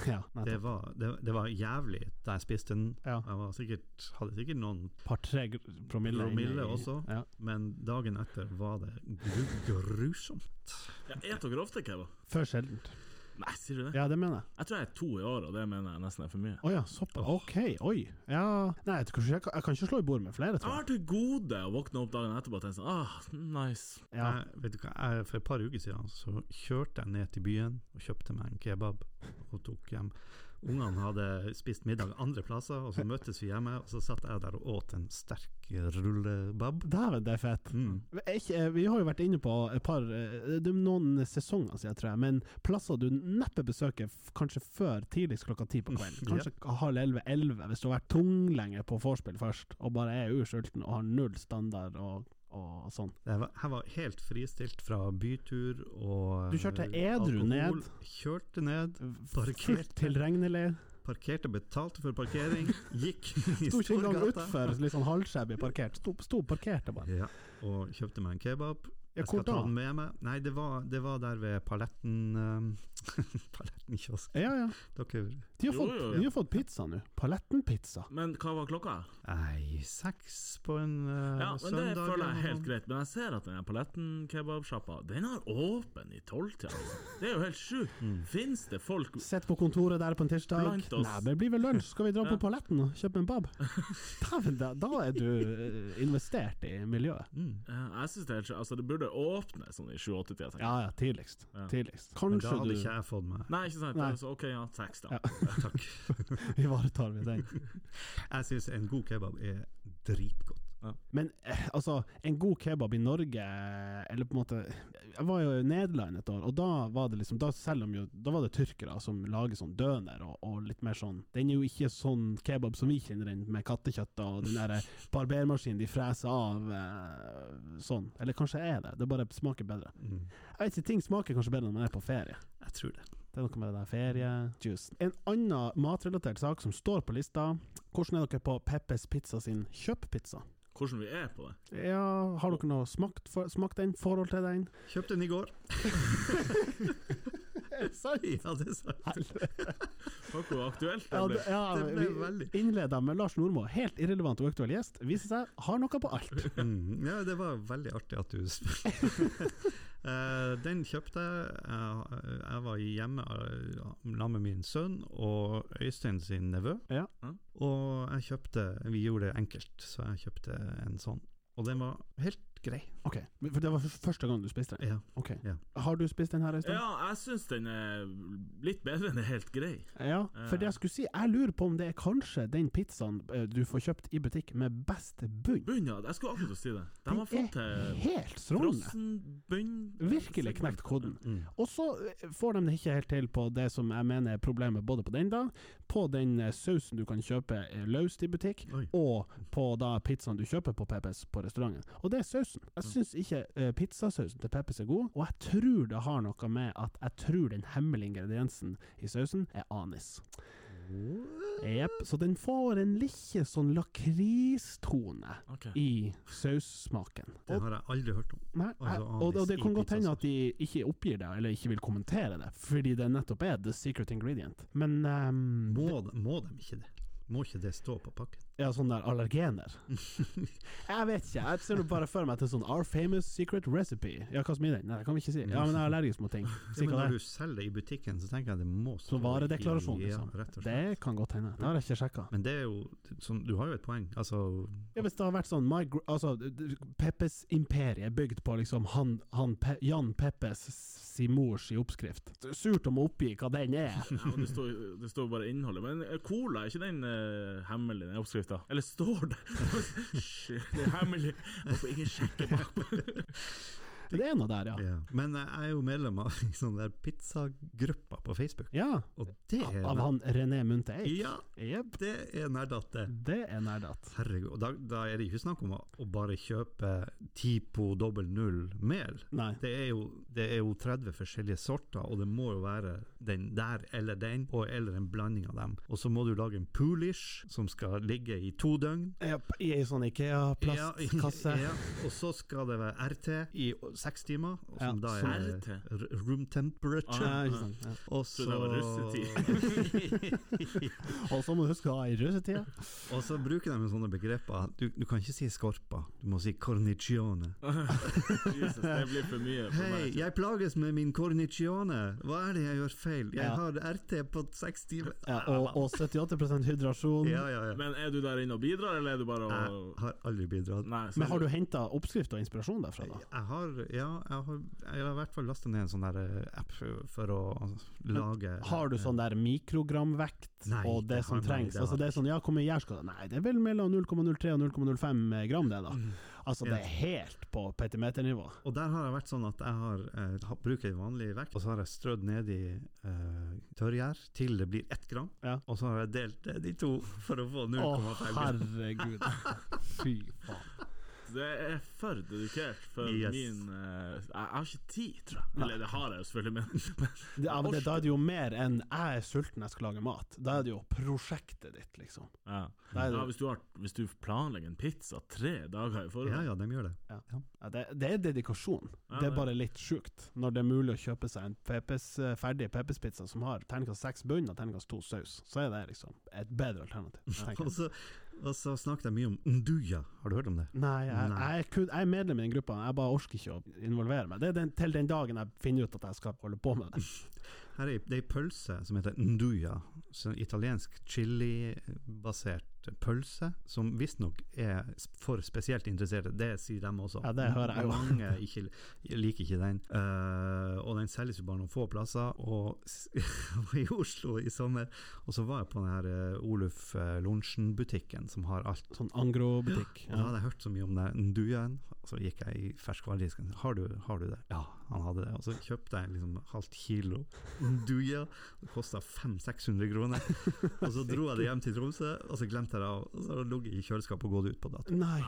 S2: Ja,
S3: Det
S2: nettopp.
S3: var, det, det var jævlig da jeg spiste den.
S2: Ja.
S3: Jeg var sikkert, hadde sikkert noen,
S2: Par-tre promille. inni-
S3: Promille også.
S2: Ja.
S3: men dagen etter var det gru, grusomt.
S1: Ja, et dere ofte kebab?
S2: Før sjeldent.
S1: Nei, sier du det?
S2: Ja, det mener jeg.
S1: Jeg tror jeg er to i år, og det mener jeg nesten er for mye.
S2: Å ja, såpass. Ok, oi. Ja Nei, jeg, tror ikke- jeg, kan- jeg kan ikke slå i bord med flere,
S1: Jeg
S2: tror jeg.
S1: har til gode å våkne opp dagen etterpå og tenke sånn Ah, nice.
S2: Ja.
S3: Jeg, vet du hva, jeg, for et par uker siden så kjørte jeg ned til byen og kjøpte meg en kebab og tok hjem. Ungene hadde spist middag andre plasser, og så møttes vi hjemme, og så satt jeg der og åt en sterk rullebab.
S2: Dæven, det er fett.
S3: Mm.
S2: Er Ikke, eh, vi har jo vært inne på et par eh, Det er noen sesonger siden, tror jeg, men plasser du neppe besøker f- kanskje før tidligst klokka ti på kvelden.
S3: Ja.
S2: Kanskje halv elleve-elleve, hvis du har vært tunglenge på vorspiel først og bare er ursulten og har null standard og, og sånn.
S3: Jeg var, jeg var helt fristilt fra bytur og
S2: Du kjørte
S3: eh,
S2: edru
S3: alkohol.
S2: ned?
S3: Kjørte ned,
S2: Fullt
S3: Parkert.
S2: tilregnelig.
S3: parkerte, betalte for parkering, gikk i
S2: Sto ikke engang
S3: Storgata.
S2: utfor, litt sånn halvskjebby parkert. Sto, sto parkert der bare.
S3: Ja, og kjøpte meg en kebab.
S2: Ja,
S3: Jeg skal
S2: hvor
S3: ta
S2: da?
S3: den med meg. Nei, det var, det var der ved Paletten eh, Paletten kiosk.
S2: Ja, ja.
S3: Dere
S2: De har,
S1: Jo,
S2: fått,
S1: jo, jo.
S2: de har fått pizza nå. Palettenpizza.
S1: Men hva var klokka?
S3: Nei, seks på en eh,
S1: Ja, men
S3: søndag.
S1: Det føler jeg
S3: eller
S1: er helt
S3: noe.
S1: greit, men jeg ser at den her paletten-kebabsjappa Den har åpen i tolvtida. altså. Det er jo helt sjukt.
S2: Mm.
S1: Fins det folk
S2: Sitt på kontoret der på en tirsdag.
S1: Blant oss.
S2: Nei, men det blir vel lunsj. Skal vi dra
S1: Ja.
S2: på paletten og kjøpe en bab? Dæven, da, da er du eh, investert i miljøet.
S3: Mm.
S1: Eh, Jeg synes Det er helt sjukt. Altså, det burde åpne sånn i sju-åtte-tida. tenker jeg.
S2: Ja ja, tidligst.
S1: Ja.
S2: Tidligst.
S3: Men da
S2: Kanskje
S3: hadde
S2: du
S3: ikke jeg fått meg
S1: Nei, ikke sant?
S2: Nei.
S1: Altså, ok, ja, tekst, da.
S2: Ja.
S3: Takk.
S2: ivaretar vi den.
S3: Jeg syns en god kebab er dritgodt.
S2: Men eh, altså, en god kebab i Norge Eller på en måte Jeg var jo i Nederland et år, og da var det liksom Da selger de jo Da var det tyrkere som lager sånn døner og, og litt mer sånn Den er jo ikke sånn kebab som vi kjenner den, med kattekjøtt og den derre barbermaskinen de freser av eh, sånn. Eller kanskje er det, det bare smaker bedre.
S3: Mm.
S2: Jeg vet ikke, ting smaker kanskje bedre når man er på ferie.
S3: Jeg tror det.
S2: Det er noe med det der feriejuicen. En annen matrelatert sak som står på lista. Hvordan er dere på Peppes Pizza sin kjøpppizza?
S1: Hvordan vi er på det.
S2: Ja, har dere noe smakt, for, smakt den? Forhold til den?
S3: Kjøpte den i går.
S2: Sant?
S3: Ja, det er sant.
S1: Fuck, hvor aktuelt det
S2: Ja, det,
S1: ble.
S2: ja,
S3: Det ble
S2: vi
S3: veldig-
S2: innleda med Lars Nordmo, helt irrelevant og aktuell gjest. Viser seg har noe på alt.
S3: Mm. Ja, det var veldig artig at du spør. Eh, den kjøpte jeg. Jeg- Jeg var hjemme eh, sammen med min sønn og Øystein sin nevø.
S2: Ja.
S1: Mm.
S3: Og jeg kjøpte Vi gjorde det enkelt, så jeg kjøpte en sånn. Og den var helt grei.
S2: Ok, men For det var f- første gang du spiste den?
S3: Ja.
S2: Ok.
S3: Ja.
S2: Har du spist den her en stund?
S1: Ja, jeg syns den er litt bedre enn det er helt grei.
S2: Ja, for det jeg skulle si, jeg lurer på om det er kanskje den pizzaen eh, du får kjøpt i butikk med best bunn.
S1: Bunnad, jeg skulle akkurat si det. De har
S2: Den
S1: fått
S3: eh,
S1: til
S2: Helt strålende!
S1: frossenbunn
S2: Virkelig knekt koden. Og så eh, får de det ikke helt til på det som jeg mener er problemet både på den da, på den eh, sausen du kan kjøpe eh, løst i butikk,
S3: Oi.
S2: og på da pizzaen du kjøper på Peppes på restauranten. Og det er sausen. Jeg syns ikke eh, pizzasausen til Peppes er god, og jeg tror det har noe med at jeg tror den hemmelige ingrediensen i sausen er anis.
S3: Ah.
S2: Jepp. Så den får en lille sånn lakristone
S1: Ok.
S2: i saussmaken.
S3: Den har jeg aldri hørt om.
S2: Nei,
S3: Altså,
S2: jeg- og,
S3: anis
S2: og det
S3: i
S2: kan godt hende
S3: pizzasaus.
S2: at de ikke oppgir det, eller ikke vil kommentere det, fordi det nettopp er the secret ingredient. Men ehm, det
S3: Må, de- må de ikke det? Må ikke det stå på pakken?
S2: er sånne sånn der allergener. jeg vet ikke, jeg ser nå bare for meg til sånn Our famous secret recipe. Ja, hva som er den? Nei, det kan vi ikke si. Ja, men jeg er allergisk mot ting.
S3: Ja, men
S2: Sikkert
S3: når
S2: det.
S3: du selger det i butikken, så tenker jeg det må stå
S2: Så varedeklarasjon,
S3: i-
S2: liksom.
S3: Ja, rett og slett.
S2: Det kan godt hende. Det har jeg ikke sjekka.
S3: Men det er jo sånn, Du har jo et poeng. Altså
S2: Ja, hvis det har vært sånn my, gr- altså, d- d- Peppes imperie er bygd på liksom han, han Pe Jan Peppes si mors i oppskrift. Surt om å oppgi hva den er.
S1: Ja, og det, står, det står bare innholdet. Men eh, cola, er ikke den eh, hemmelig, den oppskrifta? Eller står det? Shit, det er hemmelig. Hvorfor ikke sjekke bakpå?
S2: Det er noe der, ja.
S3: Ja. Men jeg er jo medlem av en sånn der pizzagruppa på Facebook,
S2: Ja,
S3: og det er
S2: Av han René Munthe Eik?
S3: Ja,
S2: Jep.
S3: det er nerdete.
S2: Det er nerdat.
S3: Herregud. Og da, da er det ikke snakk om å å bare kjøpe Tipo dobbel null mel.
S2: Nei.
S3: Det er, jo, det er jo 30 forskjellige sorter, og det må jo være den der eller den, og eller en blanding av dem. Og så må du lage en poolish som skal ligge i to døgn.
S2: Jep, I ei sånn Ikea-plastkasse.
S3: Ja, ja, og så skal det være RT i seks timer, og
S2: Ja,
S3: som da er
S1: Serr til?
S3: r- room temperature.
S2: Ja, ikke sant. Ja.
S3: Og
S1: Så
S3: så,
S1: det var russetid.
S2: Og så må du huske å ha i russetida.
S3: og så bruker de sånne begreper. Du, du kan ikke si skorpa, du må si cornicione.
S1: Jesus, det blir for mye for
S3: Hei,
S1: meg.
S3: jeg plages med min cornicione! Hva er det jeg gjør feil? Jeg
S2: Ja.
S3: har RT på seks timer!
S2: Ja, og, og 78 hydrasjon.
S3: ja, ja, ja.
S1: Men er du der inne og bidrar, eller er du bare
S3: Jeg
S1: og
S3: har aldri bidratt.
S1: Nei, så-
S2: Men har du henta oppskrift og inspirasjon derfra, da?
S3: Jeg har, ja, jeg har, jeg har i hvert fall lasta ned en sånn der eh, app for- for å lage
S2: Har du sånn der mikrogramvekt
S3: Nei,
S2: og det,
S3: det
S2: som
S3: har- nei,
S2: trengs?
S3: det har
S2: altså det er sånn, ja, hvor mye gjær skal det Nei, det er vel mellom 0,03 og 0,05 gram, det, da. Altså, det
S3: Mm. Ja.
S2: er helt på petimeternivå.
S3: Og der har jeg vært sånn at jeg har, eh, ha- bruker vanlig vekt, og så har jeg strødd nedi eh, tørrgjær til det blir ett gram.
S2: Ja.
S3: Og så har jeg delt det i to for å få
S2: Å,
S3: 0,5 gram.
S2: herregud. Fy faen.
S1: Det er for dedikert for
S3: Yes.
S1: min eh, Jeg jeg har ikke tid, tror jeg. Eller det har jeg jo selvfølgelig, men
S2: Det, ja, men det, da er det jo mer enn 'jeg er sulten, jeg skal lage mat'. Da er det jo prosjektet ditt, liksom.
S1: ja.
S2: Da er
S1: Ja,
S2: det,
S1: hvis, du har, hvis du planlegger en pizza tre dager i forhånd
S3: Ja, ja, de gjør det.
S2: Ja, det, det er dedikasjon.
S1: Ja,
S2: det er
S1: det-
S2: bare litt sjukt når det er mulig å kjøpe seg en pepes, eh, ferdig pepperspizza som har terningkast seks bunn og terningkast to saus. Så er det liksom et bedre alternativ. tenker jeg.
S3: Og så, og så snakker jeg mye om unduja. Har du hørt om det?
S2: Nei, jeg,
S3: Nei.
S2: Jeg, er kun, jeg er medlem i den gruppa, jeg bare orker ikke å involvere meg. Det er den, til den dagen jeg finner ut at jeg skal holde på med det.
S3: Her er ei- det er ei pølse som heter nduja. Så en italiensk chilibasert pølse, som visstnok er s- for spesielt interesserte. Det sier de også.
S2: Ja, det hører jeg jo.
S3: Mange ikke, liker ikke den. Eh, og den selges jo bare noen få plasser. Og s- jeg var i Oslo i sommer, og så var jeg på den her eh, Oluf eh, Lorentzen-butikken som har alt.
S2: Sånn angrobutikk.
S3: Og da
S2: Ja.
S3: hadde jeg hørt så mye om den ndujaen, og så gikk jeg i ferskvaredisken. Har, du- har du det? Ja, han hadde det. Og så kjøpte jeg liksom halvt kilo nduja. Det kosta 500-600 kroner. Og så dro jeg det hjem til Tromsø, og så glemte jeg det av. Og så har det ligget i kjøleskapet og gått ut på dato.
S2: Nei.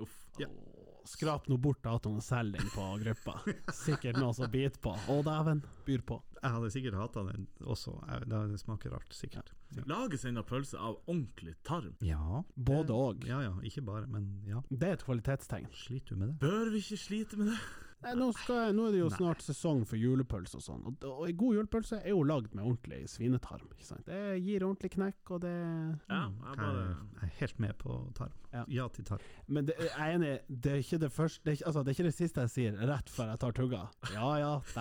S1: Uff.
S3: Ja.
S2: Åh, Skrap nå bort datoen og selg den på gruppa. Sikkert noen som biter på. Å, dæven. Byr på.
S3: Jeg hadde sikkert hata den også. Jeg, det det smaker rart, sikkert.
S1: Lage seg en pølse av ordentlig tarm.
S3: Ja.
S2: Både og.
S3: Ja ja, ikke bare, men ja.
S2: Det er et kvalitetstegn.
S3: Sliter du med det?
S1: Bør vi ikke slite med det?
S2: Nei, nå, skal, jeg- nå er det jo snart sesong for julepølse og sånn, og, og en god julepølse er jo lagd med ordentlig svinetarm. Ikke sant? Det gir ordentlig knekk, og det
S1: Ja, jeg
S3: Mm. Jeg,
S1: bare
S3: jeg er helt med på tarm.
S2: Ja.
S3: Ja til tarm.
S2: Men det, jeg er enig, det er ikke det første det er ikke, altså, det er ikke det siste jeg sier rett før jeg tar tugga. Ja ja, det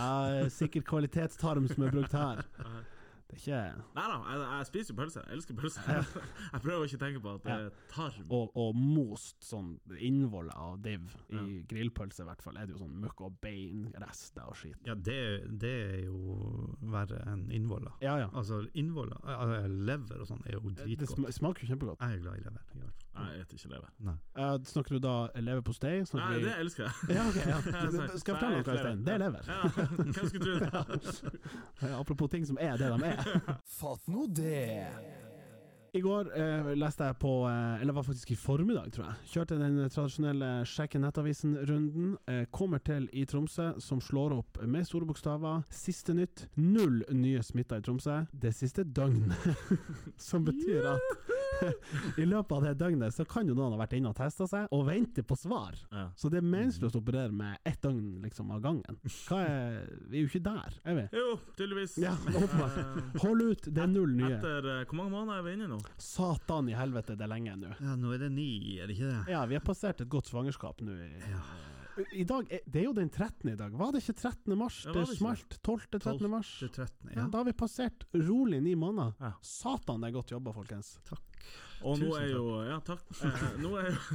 S2: er sikkert kvalitetstarm som er brukt her. Det er ikke
S1: Nei da, jeg, jeg spiser jo pølse. Jeg elsker pølse. Jeg prøver å ikke tenke på at det er tarm.
S2: Og, og most sånn innvoll av div, i grillpølse i hvert fall, er det jo sånn møkk og beinrester og skit.
S3: Ja, det, det er jo verre enn innvoller.
S2: Ja ja.
S3: Altså innvoller, altså, lever og sånn er jo
S2: Ah, Eh, Det
S3: dritgodt.
S2: sm smaker jo kjempegodt.
S3: Jeg er glad i lever, i hvert fall.
S1: Nei, Jeg spiser ikke leve.
S2: Eh, snakker du da leverpostei?
S1: Nei,
S2: Snakker vi
S1: det elsker jeg.
S2: Ja, ok. Ja.
S1: Ja, sant.
S2: Skal
S1: Så jeg
S2: jeg fortelle noe,
S1: er
S2: Øystein? Det er lever.
S1: Ja, hvem skulle tro det?
S2: Apropos ting som er det de er.
S4: Fatt nå det.
S2: I går eh, leste jeg på, eh, eller det var faktisk i formiddag, tror jeg, kjørte den tradisjonelle sjekke nettavisen-runden. Eh, kommer til i Tromsø, som slår opp med store bokstaver. Siste nytt. Null nye smitta i Tromsø det siste døgnet. som betyr at i løpet av det døgnet så kan jo noen ha vært inne og testa seg, og venter på svar.
S1: Ja.
S2: Så det er
S1: Mhm.
S2: meningsløst å operere med ett døgn liksom av gangen. Hva er, vi er jo ikke der, er vi?
S1: Jo, tydeligvis.
S2: Ja, åpenbart.
S1: Eh,
S2: Hold ut, det er null nye.
S1: Etter eh, Hvor mange måneder er vi inne i nå?
S2: Satan i helvete, det er lenge nå.
S3: Ja, nå er det ni, er det ikke det?
S2: Ja, vi har passert et godt svangerskap nå. i- I dag, er- Det er jo den 13. i dag. Var det ikke 13. mars?
S1: Ja, var
S2: det
S1: det ikke
S2: smalt 12.-13. mars.
S3: Det er 13, ja.
S2: Ja, da har vi passert rolig ni måneder.
S1: Ja.
S2: Satan, det er godt jobba, folkens.
S3: Takk.
S1: Og nå
S3: Tusen
S1: er jo Ja, takk. Eh, nå er jo,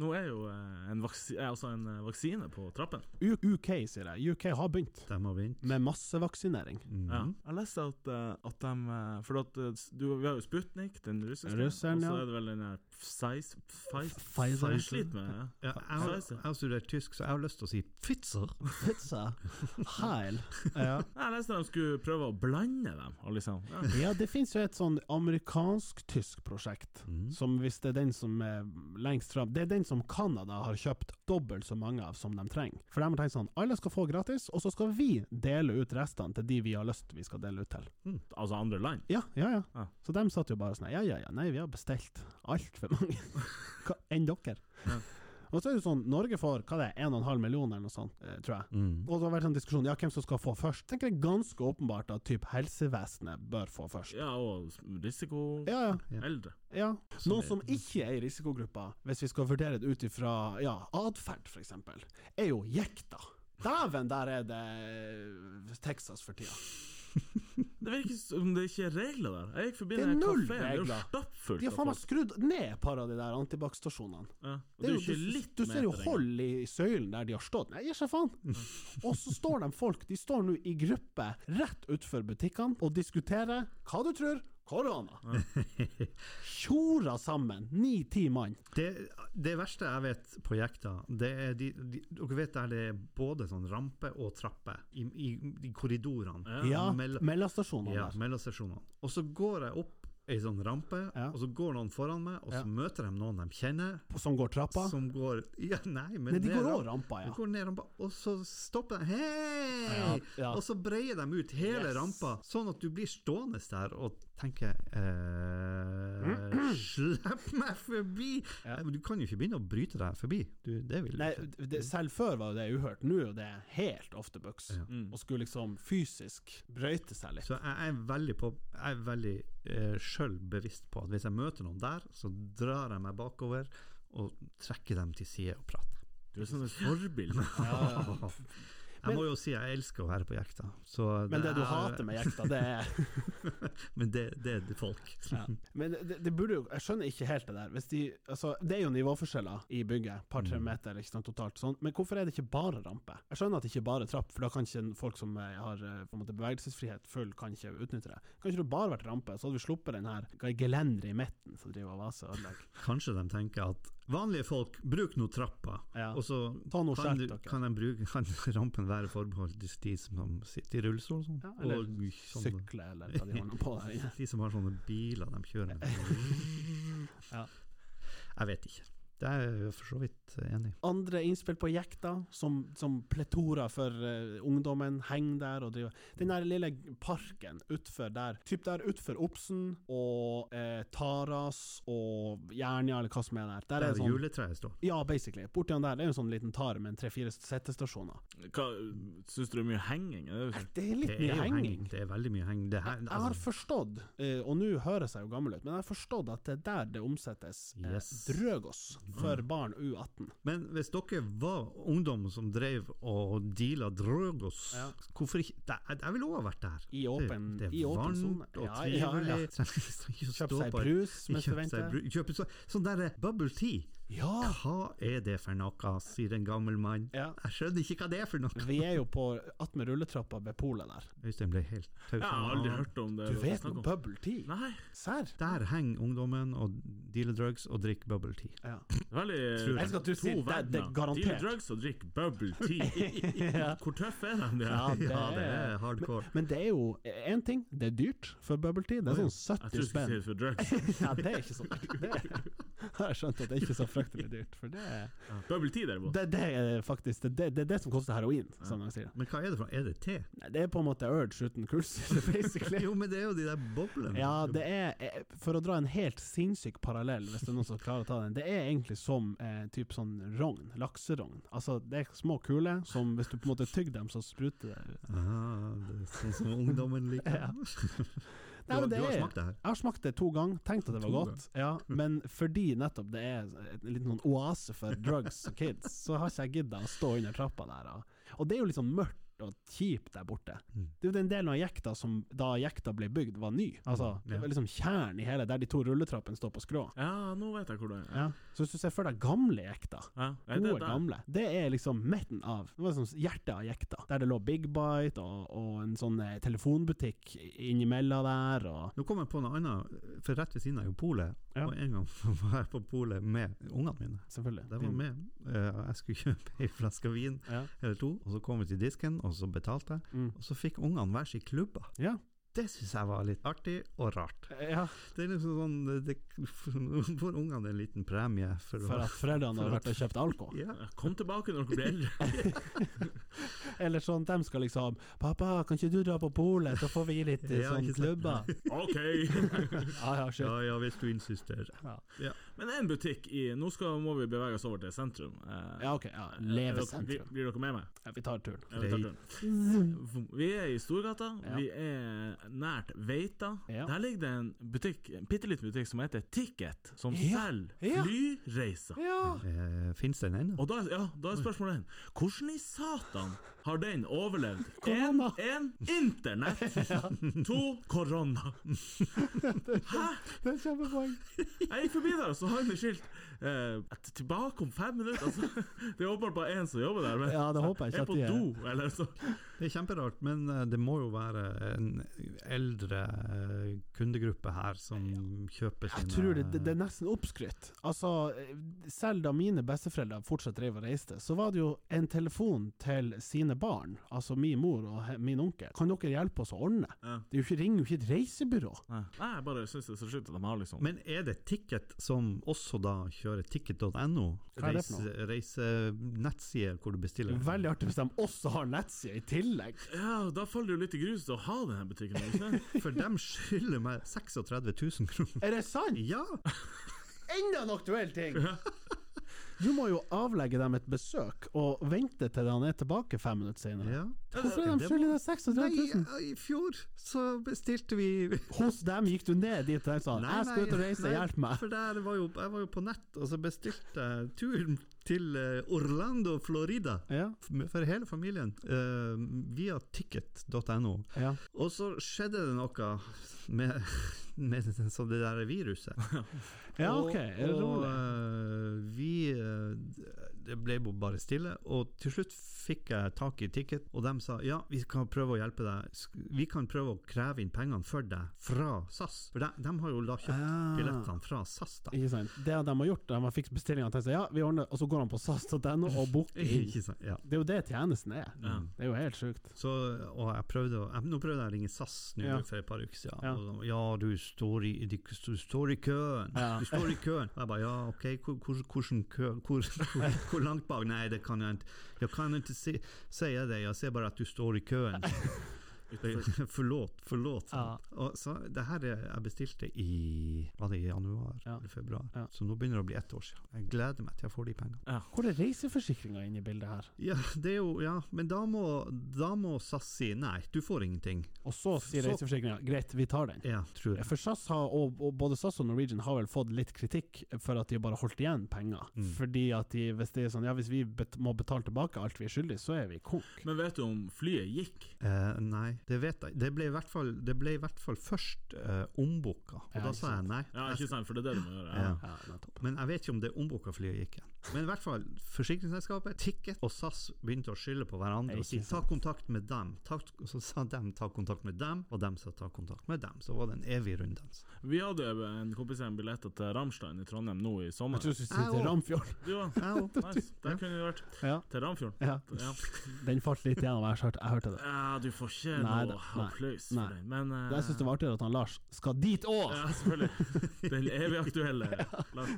S1: nå er jo eh, en, vaksi, eh, altså en eh, vaksine på trappen.
S2: U UK, sier jeg. UK har begynt
S3: De har begynt.
S2: med massevaksinering.
S3: Mhm.
S1: Ja. Jeg leste at, eh, at de eh, For at eh, s- du, vi har jo Sputnik, den russiske,
S2: Russeren,
S1: og så
S2: ja.
S1: er det vel den der Pfizer
S2: Pfizer.
S1: Pfizer Jeg sliter med ja.
S3: Ja, jeg, har,
S1: Pfizer.
S3: jeg har studert tysk, så jeg har lyst til å si Pfizer.
S2: Pizza. Heil. Ja.
S1: Jeg leste at de skulle prøve å blande dem. Og liksom, ja.
S2: Ja, det finnes jo et sånn amerikansk-tysk prosjekt,
S3: Mhm.
S2: som hvis det er den som er lengst fram Det er den som Canada har kjøpt dobbelt så mange av som de trenger. For de har tenkt sånn, alle skal få gratis, og så skal vi dele ut restene til de vi har lyst vi skal dele ut til.
S1: Altså andre land.
S2: Ja, ja, ja.
S1: Ja.
S2: Så de satt jo bare sånn, ja, ja, ja, nei, vi har bestilt altfor mange. Hva enn dere?
S1: Ja.
S2: Og så er det sånn, Norge får hva det er, 1,5 millioner eller noe sånt, eh, tror jeg.
S3: Mm.
S2: Og så har det vært en diskusjon ja, hvem som skal få først. Tenker jeg ganske åpenbart at typ helsevesenet bør få først.
S1: Ja, og risiko
S2: Ja, ja.
S1: Eldre.
S2: ja.
S3: Så
S2: Noen
S3: det-
S2: som ikke er i risikogruppa, hvis vi skal vurdere det ut ifra ja, atferd f.eks., er jo jekta. Dæven, der er det Texas for tida.
S1: Det virker som det ikke er regler der. Jeg gikk forbi
S2: Det er
S1: den
S2: null
S1: kafeen, det er jo
S2: regler.
S1: stappfullt
S2: De har
S1: av
S2: faen meg
S1: folk.
S2: skrudd ned et par av de der antibac-stasjonene.
S1: Ja. Og
S2: Det
S1: det
S2: er
S1: er
S2: jo-
S1: jo ikke
S2: du,
S1: litt
S2: du ser jo
S1: nedtrenger.
S2: hold i søylen der de har stått. Nei, gir seg faen! Og så står de folk, de står nå i gruppe rett utfor butikkene og diskuterer hva du tror korona. Tjora sammen, ni-ti mann.
S3: Det, det verste jeg vet på jekta, det er de, de Dere vet der det er både sånn rampe og trappe i, i, i korridorene.
S2: Ja,
S3: mell-
S2: mellomstasjonene
S3: Ja,
S2: der.
S3: mellom sesjonene. Og så går jeg opp ei sånn rampe,
S2: Ja.
S3: og så går noen foran meg, og så
S2: Ja.
S3: møter de noen de kjenner,
S2: Som går trappa.
S3: som går ja, Nei, men
S2: Nei, de
S3: det er
S2: går
S3: ramp-
S2: over rampa,
S3: De
S2: ja.
S3: går ned rampa, og så stopper de Hei!
S2: Ja, ja.
S3: Og så breier de ut hele
S2: Yes.
S3: rampa, sånn at du blir stående der og tenker eh, Slipp meg forbi!
S2: Ja.
S3: Eh, men Du kan jo ikke begynne å bryte deg forbi. Du, det vil du
S2: Nei,
S3: ikke.
S2: det, selv før var jo det uhørt. Nå er jo det helt off the books.
S3: Ja.
S2: Å skulle liksom fysisk brøyte seg litt.
S3: Så jeg er veldig, på- jeg er veldig eh, sjøl bevisst på at hvis jeg møter noen der, så drar jeg meg bakover og trekker dem til side og prater.
S1: Du er sånn et forbilde.
S3: Jeg må jo si jeg elsker å være på jekta. Så
S2: Men det du
S3: er-
S2: hater med jekta, det er
S3: Men det, det er folk.
S2: Men det, det burde jo Jeg skjønner ikke helt det der. Hvis de, altså, det er jo nivåforskjeller i bygget, par-tre
S3: Mm.
S2: meter ikke sant, totalt. Sånn. Men hvorfor er det ikke bare rampe? Jeg skjønner at det ikke er bare trapp, for da kan ikke folk som eh, har eh, på en måte bevegelsesfrihet full, kan ikke utnytte det. Kan ikke det bare vært rampe, så hadde vi sluppet den her hva er gelenderet i midten som driver og vaser og ødelegger.
S3: Kanskje de tenker at vanlige folk, bruk nå trappa,
S2: Ja.
S3: og så
S2: Ta noe
S3: kan,
S2: skjerp
S3: du,
S2: dere.
S3: kan, de bruke, kan rampen være forbeholdt de- de som sitter i rullestol og sånn.
S2: Ja, eller
S3: og sånne,
S2: Sykle, eller hva de holder på der inne.
S3: de som har sånne biler de kjører med.
S2: Ja.
S3: Jeg vet ikke. Det er jeg for så vidt enig i.
S2: Andre innspill på jekta, som, som pletora for eh, ungdommen, henger der og driver Den der lille parken utfor der, typ der utfor Obsen og eh, Taras og Jernia, eller hva som er der. Der
S3: Der
S2: er det sånn
S3: juletreet står.
S2: ja, basically. Borti han der det er jo en sånn liten tar med en tre-fire settestasjoner.
S1: Hva, Syns du det er mye henging? Er det-
S2: Det er litt
S3: Det er
S2: mye
S3: jo
S2: henging.
S3: henging. Det er veldig mye henging. Det her,
S2: Jeg har
S3: altså,
S2: forstått, eh, og nå høres jeg jo gammel ut, men jeg har forstått at det er der det omsettes eh,
S3: Yes.
S2: drøgos for barn U18.
S3: men hvis dere var ungdom som drev og deala drogos,
S2: Ja.
S3: hvorfor ikke det, Jeg jeg ville òg vært der.
S2: I åpen
S3: det, det
S2: i
S3: er
S2: åpen
S3: varmt
S2: sone.
S3: og
S2: Ja,
S3: trivelig.
S2: ja, ja.
S3: Trenger ikke å
S2: Kjøpe
S3: stå
S2: seg
S3: på et-
S2: brus mens du
S3: Kjøpe seg
S2: venter.
S3: bru- kjøpe så, sånn derre bubble tea.
S2: Ja!
S3: Hva er det for noe, sier en gammel mann.
S2: Ja.
S3: Jeg skjønner ikke hva det er for noe.
S2: Vi er jo på attmed rulletrappa ved polet der.
S3: Øystein ble helt taus.
S1: Jeg har aldri hørt om det.
S2: Du
S1: det er
S2: vet
S1: snakk
S2: om
S1: om.
S2: bubble tea?
S1: Nei,
S2: Serr?
S3: Der henger ungdommen og dealer drugs og drikker bubble tea.
S2: Ja.
S1: det er veldig
S3: Tror jeg.
S2: Jeg elsker at du sier det- det er garantert.
S1: Deal drugs og drikk bubble tea. Hvor tøff er den?
S2: Ja,
S1: Ja.
S2: det
S3: Ja, det er
S2: er
S3: hardcore.
S2: Men det er jo én ting, det er dyrt for bubble tea. Det er
S1: Jeg
S2: sånn
S1: tror
S2: 70
S1: jeg skulle si
S2: spenn.
S1: det for drugs.
S2: Ja, det er ikke så dyrt. Det er- har jeg skjønt at det er ikke så fryktelig dyrt. For det er
S1: Bubble tea, derimot.
S2: det, det er faktisk det, det, det er det som koster heroin, som de sier.
S3: Men hva er det for noe? Er det te?
S2: Nei, Det er på en måte urge uten kullsyre, basically.
S3: Jo, men det er jo de der boblene.
S2: Ja, det er eh, For å dra en helt sinnssyk parallell, hvis det er noen som klarer å ta den, det er egentlig som eh, typ sånn rogn, lakserogn. Altså, det er små kuler som hvis du på en måte tygger dem, så spruter det ut.
S3: Ah, det er sånn som ungdommen liker.
S2: Ja. Nei,
S3: Du, har-
S2: men
S3: du
S2: det
S3: har
S2: er-
S3: smakt det her?
S2: Jeg har smakt det to ganger, tenkt at det var
S1: To
S2: godt, ja, men fordi nettopp det er en liten sånn oase for drugs og kids, så har ikke jeg gidda å stå under trappa der. Og, og det er jo litt sånn mørkt og kjipt der borte.
S3: Mm.
S2: Det er jo den delen av jekta som da jekta ble bygd, var ny. Altså, det var liksom kjernen i hele, der de to rulletrappene står på skrå.
S1: Ja, nå vet jeg hvor det er.
S2: Ja. Så hvis du ser for deg gamle jekta,
S1: Ja, nei, det
S2: gode
S1: er der.
S2: gamle, det er liksom midten av det var liksom hjertet av jekta, der det lå Big Bite og, og en sånn eh, telefonbutikk innimellom der, og
S3: Nå kom jeg på noe annet, for rett ved siden av er jo polet.
S2: Ja.
S3: Og en gang var jeg på polet med ungene mine.
S2: selvfølgelig
S3: De var med. Eh, Jeg skulle kjøpe ei flaske vin
S2: Ja.
S3: eller to, og så kom vi til disken, og så betalte jeg.
S2: Mm.
S3: Og så fikk ungene hver sin klubbe.
S2: Ja.
S3: Det syns jeg var litt artig og rart.
S2: Ja,
S3: Det er liksom sånn det- det- Får ungene en liten premie for,
S2: for
S3: å
S2: at foreldrene har vært og kjøpt alkohol.
S3: ja.
S1: Kom tilbake når dere blir eldre.
S2: Eller sånn, de skal liksom 'Pappa, kan ikke du dra på polet, så får vi litt eh,
S3: Ja,
S2: sånn
S3: ikke sant.
S2: klubber?'
S1: OK!
S2: Ja, ja, shit.
S3: ja ja, hvis du insisterer.
S2: Ja,
S1: Men en butikk i Nå skal, må vi bevege oss over til sentrum. Eh,
S2: ja ok. Ja,
S1: er
S2: leve
S1: dere-
S2: sentrum.
S1: Blir, blir dere med meg?
S2: Ja, vi tar turen.
S1: Ja, vi tar turen. Vi er i Storgata.
S2: Ja.
S1: Vi er nært Veita.
S2: Ja.
S1: Der ligger det en butikk, en bitte liten butikk som heter Ticket, som
S2: Ja.
S1: selger
S2: Ja.
S1: flyreiser.
S2: Ja.
S3: Eh, Fins den ennå?
S1: Og da, er- ja, da er spørsmålet en. Hvordan i satan har den overlevd? En,
S2: Korona.
S1: en internett! To korona.
S2: Det er kjempepoeng.
S1: Jeg gikk forbi der, og så hang det skilt eh, at 'Tilbake om fem minutter'. Altså, det er åpenbart bare én som jobber der. Men
S2: Ja, det håper jeg
S1: er
S2: ikke at
S1: på
S2: de er.
S1: do, eller så.
S3: Det er kjemperart, men eh, det må jo være en eldre eh, kundegruppe her som kjøper sine
S2: Jeg tror det, det,
S3: eh,
S2: det er nesten oppskrytt. Altså, eh, selv da mine besteforeldre fortsatt drev og reiste, så var det jo en telefon til sine barn, altså min mor og he- min onkel. Kan dere hjelpe oss å ordne?
S1: Ja.
S2: Det er jo ikke, ringer jo ikke et reisebyrå.
S1: Nei, jeg bare syns det er så sjukt at de har liksom
S3: Men er det Ticket som også da kjører ticket.no?
S2: Hva er det for
S3: Reise- Reisenettsider hvor du bestiller?
S2: Veldig artig hvis de også har nettside i tillegg.
S1: Ja, da faller det jo litt i grus å ha denne butikken. Ikke? sant?
S3: For dem skylder meg 36 000 kroner.
S2: Er det sant?
S3: Ja!
S2: Enda en aktuell ting! Du må jo avlegge dem et besøk, og vente til han er tilbake fem minutter senere.
S3: ja.
S2: Hvorfor er de
S3: Det
S2: skyldig deg 36
S3: Nei,
S2: 000?
S3: I fjor så bestilte vi
S2: Hos dem gikk du ned dit og sa 'jeg skal ut og reise,
S3: nei,
S2: hjelp meg'.
S3: For der var jo, jeg var jo på nett, og så bestilte jeg tur til eh, Orlando, Florida.
S2: Ja,
S3: f- med- For hele familien, eh, via ticket.no.
S2: ja.
S3: Og så skjedde det noe med, med det- så det der viruset.
S2: ja ok. Er det
S3: Og, og
S2: rolig?
S3: eh, vi eh, Det ble jo bare stille, og til slutt fikk jeg tak i ticket, og de sa ja, vi kan prøve å hjelpe deg. Sk- Vi kan prøve å kreve inn pengene for deg fra SAS. For de, de har jo da kjøpt
S2: Ah.
S3: billettene fra SAS, da.
S2: Ikke sant. Det de har gjort, de har fikset bestillinga og tenkt seg ja, vi ordner, og så går han på sas.no og booker inn.
S3: Ikke sant? Ja.
S2: Det er jo det tjenesten er.
S1: Ja.
S2: Det er jo helt sjukt.
S3: Så, og jeg prøvde å, jeg, nå prøvde jeg å ringe SAS nå
S2: Ja.
S3: for et par uker siden.
S2: Ja.
S3: Ja, og de, ja du, står i, du, du står i køen.
S2: Ja.
S3: Du står i køen. Og jeg bare ja, ok, hvor, hvor, hvordan kø, hvor, hvor, hvor langt bak? Nei, det kan jeg ikke. Jeg kan ikke si, si det, jeg ser bare at du står i køen. forlåt, forlåt.
S2: Ja.
S3: Og så det her er, jeg bestilte i var det i januar
S2: Ja.
S3: eller februar,
S2: Ja.
S3: så nå begynner det å bli ett år siden. Jeg gleder meg til jeg får de pengene.
S2: Hvor er reiseforsikringa inne i bildet her?
S3: Ja, det er jo, ja, men da må, da må SAS si nei, du får ingenting.
S2: Og så sier
S3: Så-
S2: reiseforsikringa greit, vi tar den.
S3: Ja, tror jeg.
S2: For SAS har, og, og både SAS og Norwegian har vel fått litt kritikk for at de bare holdt igjen penger.
S3: Mm.
S2: Fordi at de, hvis det er sånn ja, hvis vi bet må betale tilbake alt vi er skyldige, så er vi konk.
S1: Men vet du om flyet gikk?
S3: Eh, nei, det vet jeg. Det ble i hvert fall, det ble i hvert fall først eh, ombooka, og
S2: Ja,
S3: da
S2: ikke
S3: sa jeg
S2: sant.
S3: nei.
S1: Ja, ikke sant, for det er det du må gjøre.
S3: Ja.
S1: Ja.
S2: Altså, Ja, nettopp.
S3: Men jeg vet ikke om det ombooka flyet gikk igjen. Men i hvert fall, forsikringsselskapet, Ticket og SAS begynte å skylde på hverandre og si
S2: Ikke
S3: ta kontakt med dem. Ta, og så sa dem ta kontakt med dem, og dem sa ta kontakt med dem. Så var det en evig runddans.
S1: Vi hadde en kompis med billetter til Ramstein i Trondheim nå i sommer.
S2: Jeg tror du skulle si til
S3: Au.
S2: Ramfjord.
S1: Du, ja.
S3: Jeg og-
S1: Nice. Der kunne vi vært.
S2: Ja.
S1: Til Ramfjorden.
S2: ja.
S1: Ja.
S2: Den falt litt gjennom, jeg hørte, jeg hørte det.
S1: Ja, du får ikke
S2: Nei da,
S1: noe
S2: nei,
S1: applaus
S2: nei.
S1: for den, men eh,
S2: Jeg syns det var artigere at han Lars skal dit òg!
S1: Ja, selvfølgelig. Den evig aktuelle. Lars.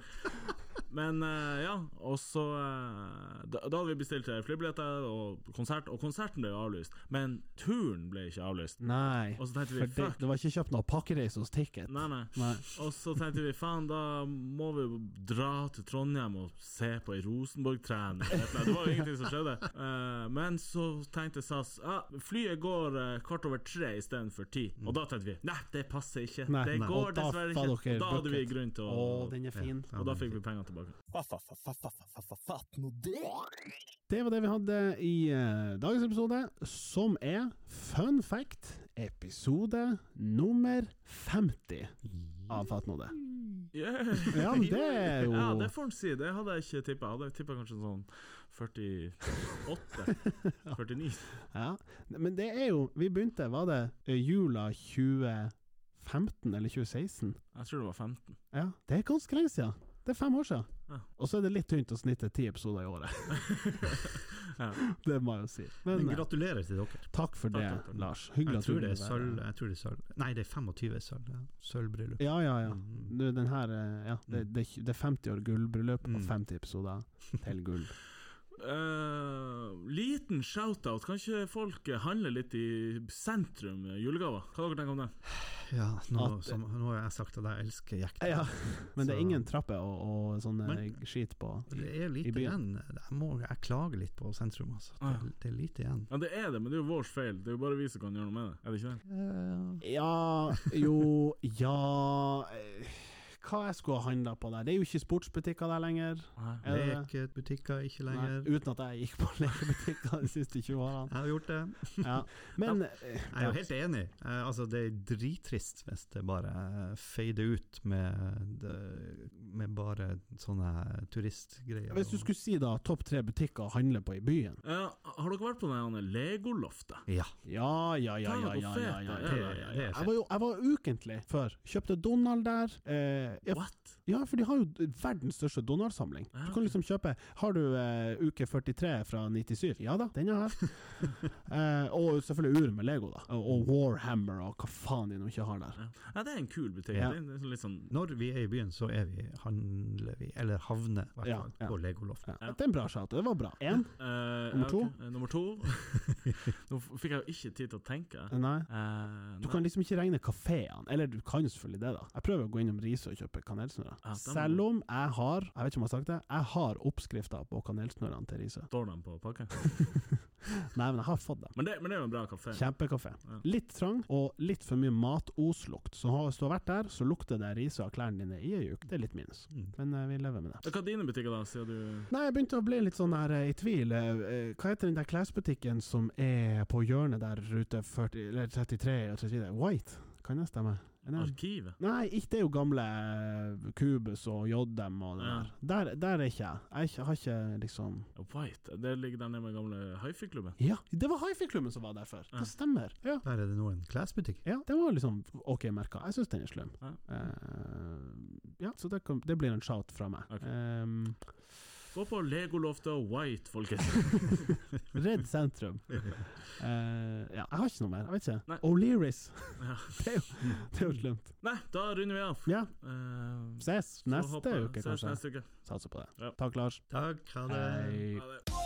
S1: Men eh, ja, og så eh, da, da hadde vi bestilt eh, flybilletter og konsert, og konserten ble jo avlyst. Men turen ble ikke avlyst.
S2: Nei,
S1: Og så tenkte vi
S2: for det,
S1: fuck.
S2: det var ikke kjøpt noe pakkereise hos Ticket.
S1: Nei, nei.
S2: Nei.
S1: Og så tenkte vi faen, da må vi jo dra til Trondheim og se på ei Rosenborg-trening. eller et eller annet. Det var jo ingenting som skjedde. Eh, men så tenkte SAS ja, flyet går eh, kvart over tre istedenfor ti. Og da tenkte vi nei, det passer ikke.
S2: Nei,
S1: det
S3: nei.
S1: går
S2: Og da
S1: dessverre
S2: var
S1: ikke.
S2: dere
S1: Da hadde vi
S2: booket.
S1: grunn til
S2: Å,
S1: å
S2: den er fin.
S3: Ja,
S1: Og da fikk vi pengene tilbake.
S4: Fatt nå det!
S2: Det var det vi hadde i eh, dagens episode, som er fun fact episode nummer 50 av Fatt nå det.
S1: Yeah.
S2: Ja, men det er jo
S1: Ja, det får en si. Det hadde jeg ikke tippa. Jeg hadde tippa kanskje sånn 48? 49?
S2: Ja, men det er jo Vi begynte, var det eh, jula 2015 eller 2016?
S1: Jeg tror det var 15.
S2: Ja, det er ganske lenge siden. Det er fem år siden.
S1: Ja.
S2: Og så er det litt tynt å snitte ti episoder i året.
S1: Ja.
S2: Det må jeg jo si. Men, eh,
S3: Men gratulerer til dere.
S2: takk for det,
S1: takk, takk, takk.
S2: Lars. Hyggelig
S3: Jeg
S2: at du
S3: tror det er
S2: ville være-
S3: sølv. Jeg tror det er sølv. Nei, det er 25 sølv. Ja. Sølvbryllup.
S2: Ja, ja, ja.
S3: Mm.
S2: Du, den her, eh, ja det, det, det er 50 år gullbryllup og
S3: Mm.
S2: 50 episoder til gull.
S1: Eh, liten shout-out. Kan ikke folk eh, handle litt i sentrum eh, julegaver? Hva dere tenker om det?
S3: Ja, nå,
S2: At-
S3: som, nå har jeg sagt at jeg elsker jekta.
S2: Ja, men det er
S3: Så-
S2: ingen trapper og, og sånn eh,
S3: Men-
S2: skit på.
S3: Det er
S2: I
S3: lite igjen.
S2: byen.
S3: Jeg, må, jeg klager litt på sentrum, altså. Det,
S1: Ah, ja.
S3: er- det er lite igjen.
S1: Ja, det er det, men det er jo vår feil. Det er jo bare vi som kan gjøre noe med det. Er det ikke det?
S3: Eh,
S2: Ja, jo, ja eh, Hva jeg skulle ha handla på der? Det er jo ikke sportsbutikker der lenger.
S1: Nei.
S2: Er det det?
S3: Lekebutikker ikke lenger.
S2: Nei, uten at jeg gikk på lekebutikker de siste 20 årene.
S3: Jeg har gjort det.
S2: Ja. Men eh,
S3: Jeg er jo helt enig. Eh, altså, det er drittrist hvis det bare eh, fader ut med, det- med bare sånne turistgreier.
S2: hvis du
S3: og-
S2: skulle si da topp tre butikker å handle på i byen
S1: Eh, har dere vært på det her Legoloftet?
S3: Ja.
S2: Ja, ja, ja, ja. ja, ja, ja, ja, ja, ja.
S3: Det er
S2: Jeg
S3: fett.
S2: var jo jeg var ukentlig før. Kjøpte Donald der. Eh, ja,
S1: What?
S2: Ja, for de har jo verdens største Donald-samling.
S1: Ja,
S2: Du kan liksom kjøpe Har du eh, uke 43 fra 97? Ja da, den har jeg. eh, og selvfølgelig ur med Lego, da. Og, og Warhammer og hva faen de nå ikke har der.
S1: Ja. ja, det er en kul butikk.
S3: Ja.
S1: Det er- Det er litt sånn
S3: Når vi er i byen, så er vi, handler vi, eller havner, i hvert
S2: Ja,
S3: fall,
S2: ja.
S3: på Legoloft.
S2: Ja. Det er en bra shout, det var bra. Én?
S1: Eh, ja,
S2: Nummer
S1: ok.
S2: to?
S1: Eh, Nummer to. Nå f- fikk jeg jo ikke tid til å tenke.
S2: Nei.
S1: Eh,
S2: Du
S1: nei.
S2: kan liksom ikke regne kafeene, eller du kan jo selvfølgelig det, da. Jeg prøver å gå innom Riise og kjøpe kanelsnurrer.
S1: Ja, dem-
S2: Selv om jeg har, jeg vet ikke om jeg har sagt det, jeg har oppskrifta på kanelsnurrene til Riise.
S1: Står de på pakka?
S2: Nei, men jeg har fått dem.
S1: Men det, men det er jo en bra kafé.
S2: Kjempekafé.
S1: Ja.
S2: Litt trang og litt for mye matoslukt. Så har- hvis du har vært der, så lukter det rise av klærne dine i ei uke. Det er litt minus,
S3: Mm.
S2: men eh, vi lever med det.
S1: Hva er dine butikker, da, siden du
S2: Nei, jeg begynte å bli litt sånn her eh, i tvil. Eh, eh, Hva heter den der klesbutikken som er på hjørnet der rute 40, eller 33 og 34? White, kan jeg stemme? Er det-
S1: Arkivet?
S2: Nei, ikke det er jo gamle eh, Cubus og JM og det
S1: Ja.
S2: der. der. Der er ikke jeg. Jeg er ikke- har ikke liksom
S1: White? Det ligger der nede med gamle hifi-klubben?
S2: Ja, det var hifi-klubben som var der før!
S1: Ja.
S2: Det stemmer. Ja.
S3: Der er det nå en klesbutikk.
S2: Ja, det var liksom ok merka. Jeg syns den er slum.
S1: Ja.
S2: Eh, ja, så det, kan, det blir en shout fra meg.
S1: Ok.
S2: Ehm,
S1: Gå på Legoloftet og White, folkens.
S2: Redd sentrum. Eh, ja, jeg har ikke noe mer. Jeg vet
S1: Nei.
S2: ikke. O'Learys.
S1: Ja.
S2: det er jo, det er jo slumt.
S1: Nei, da runder vi av.
S2: Ja,
S1: Eh,
S2: ses
S1: så
S2: neste
S1: håper jeg-
S2: uke,
S1: ses
S2: kanskje.
S1: neste uke.
S2: Satser på det.
S1: Ja.
S2: Takk, Lars.
S3: Takk, ha det.
S2: Hei.
S1: Ha det.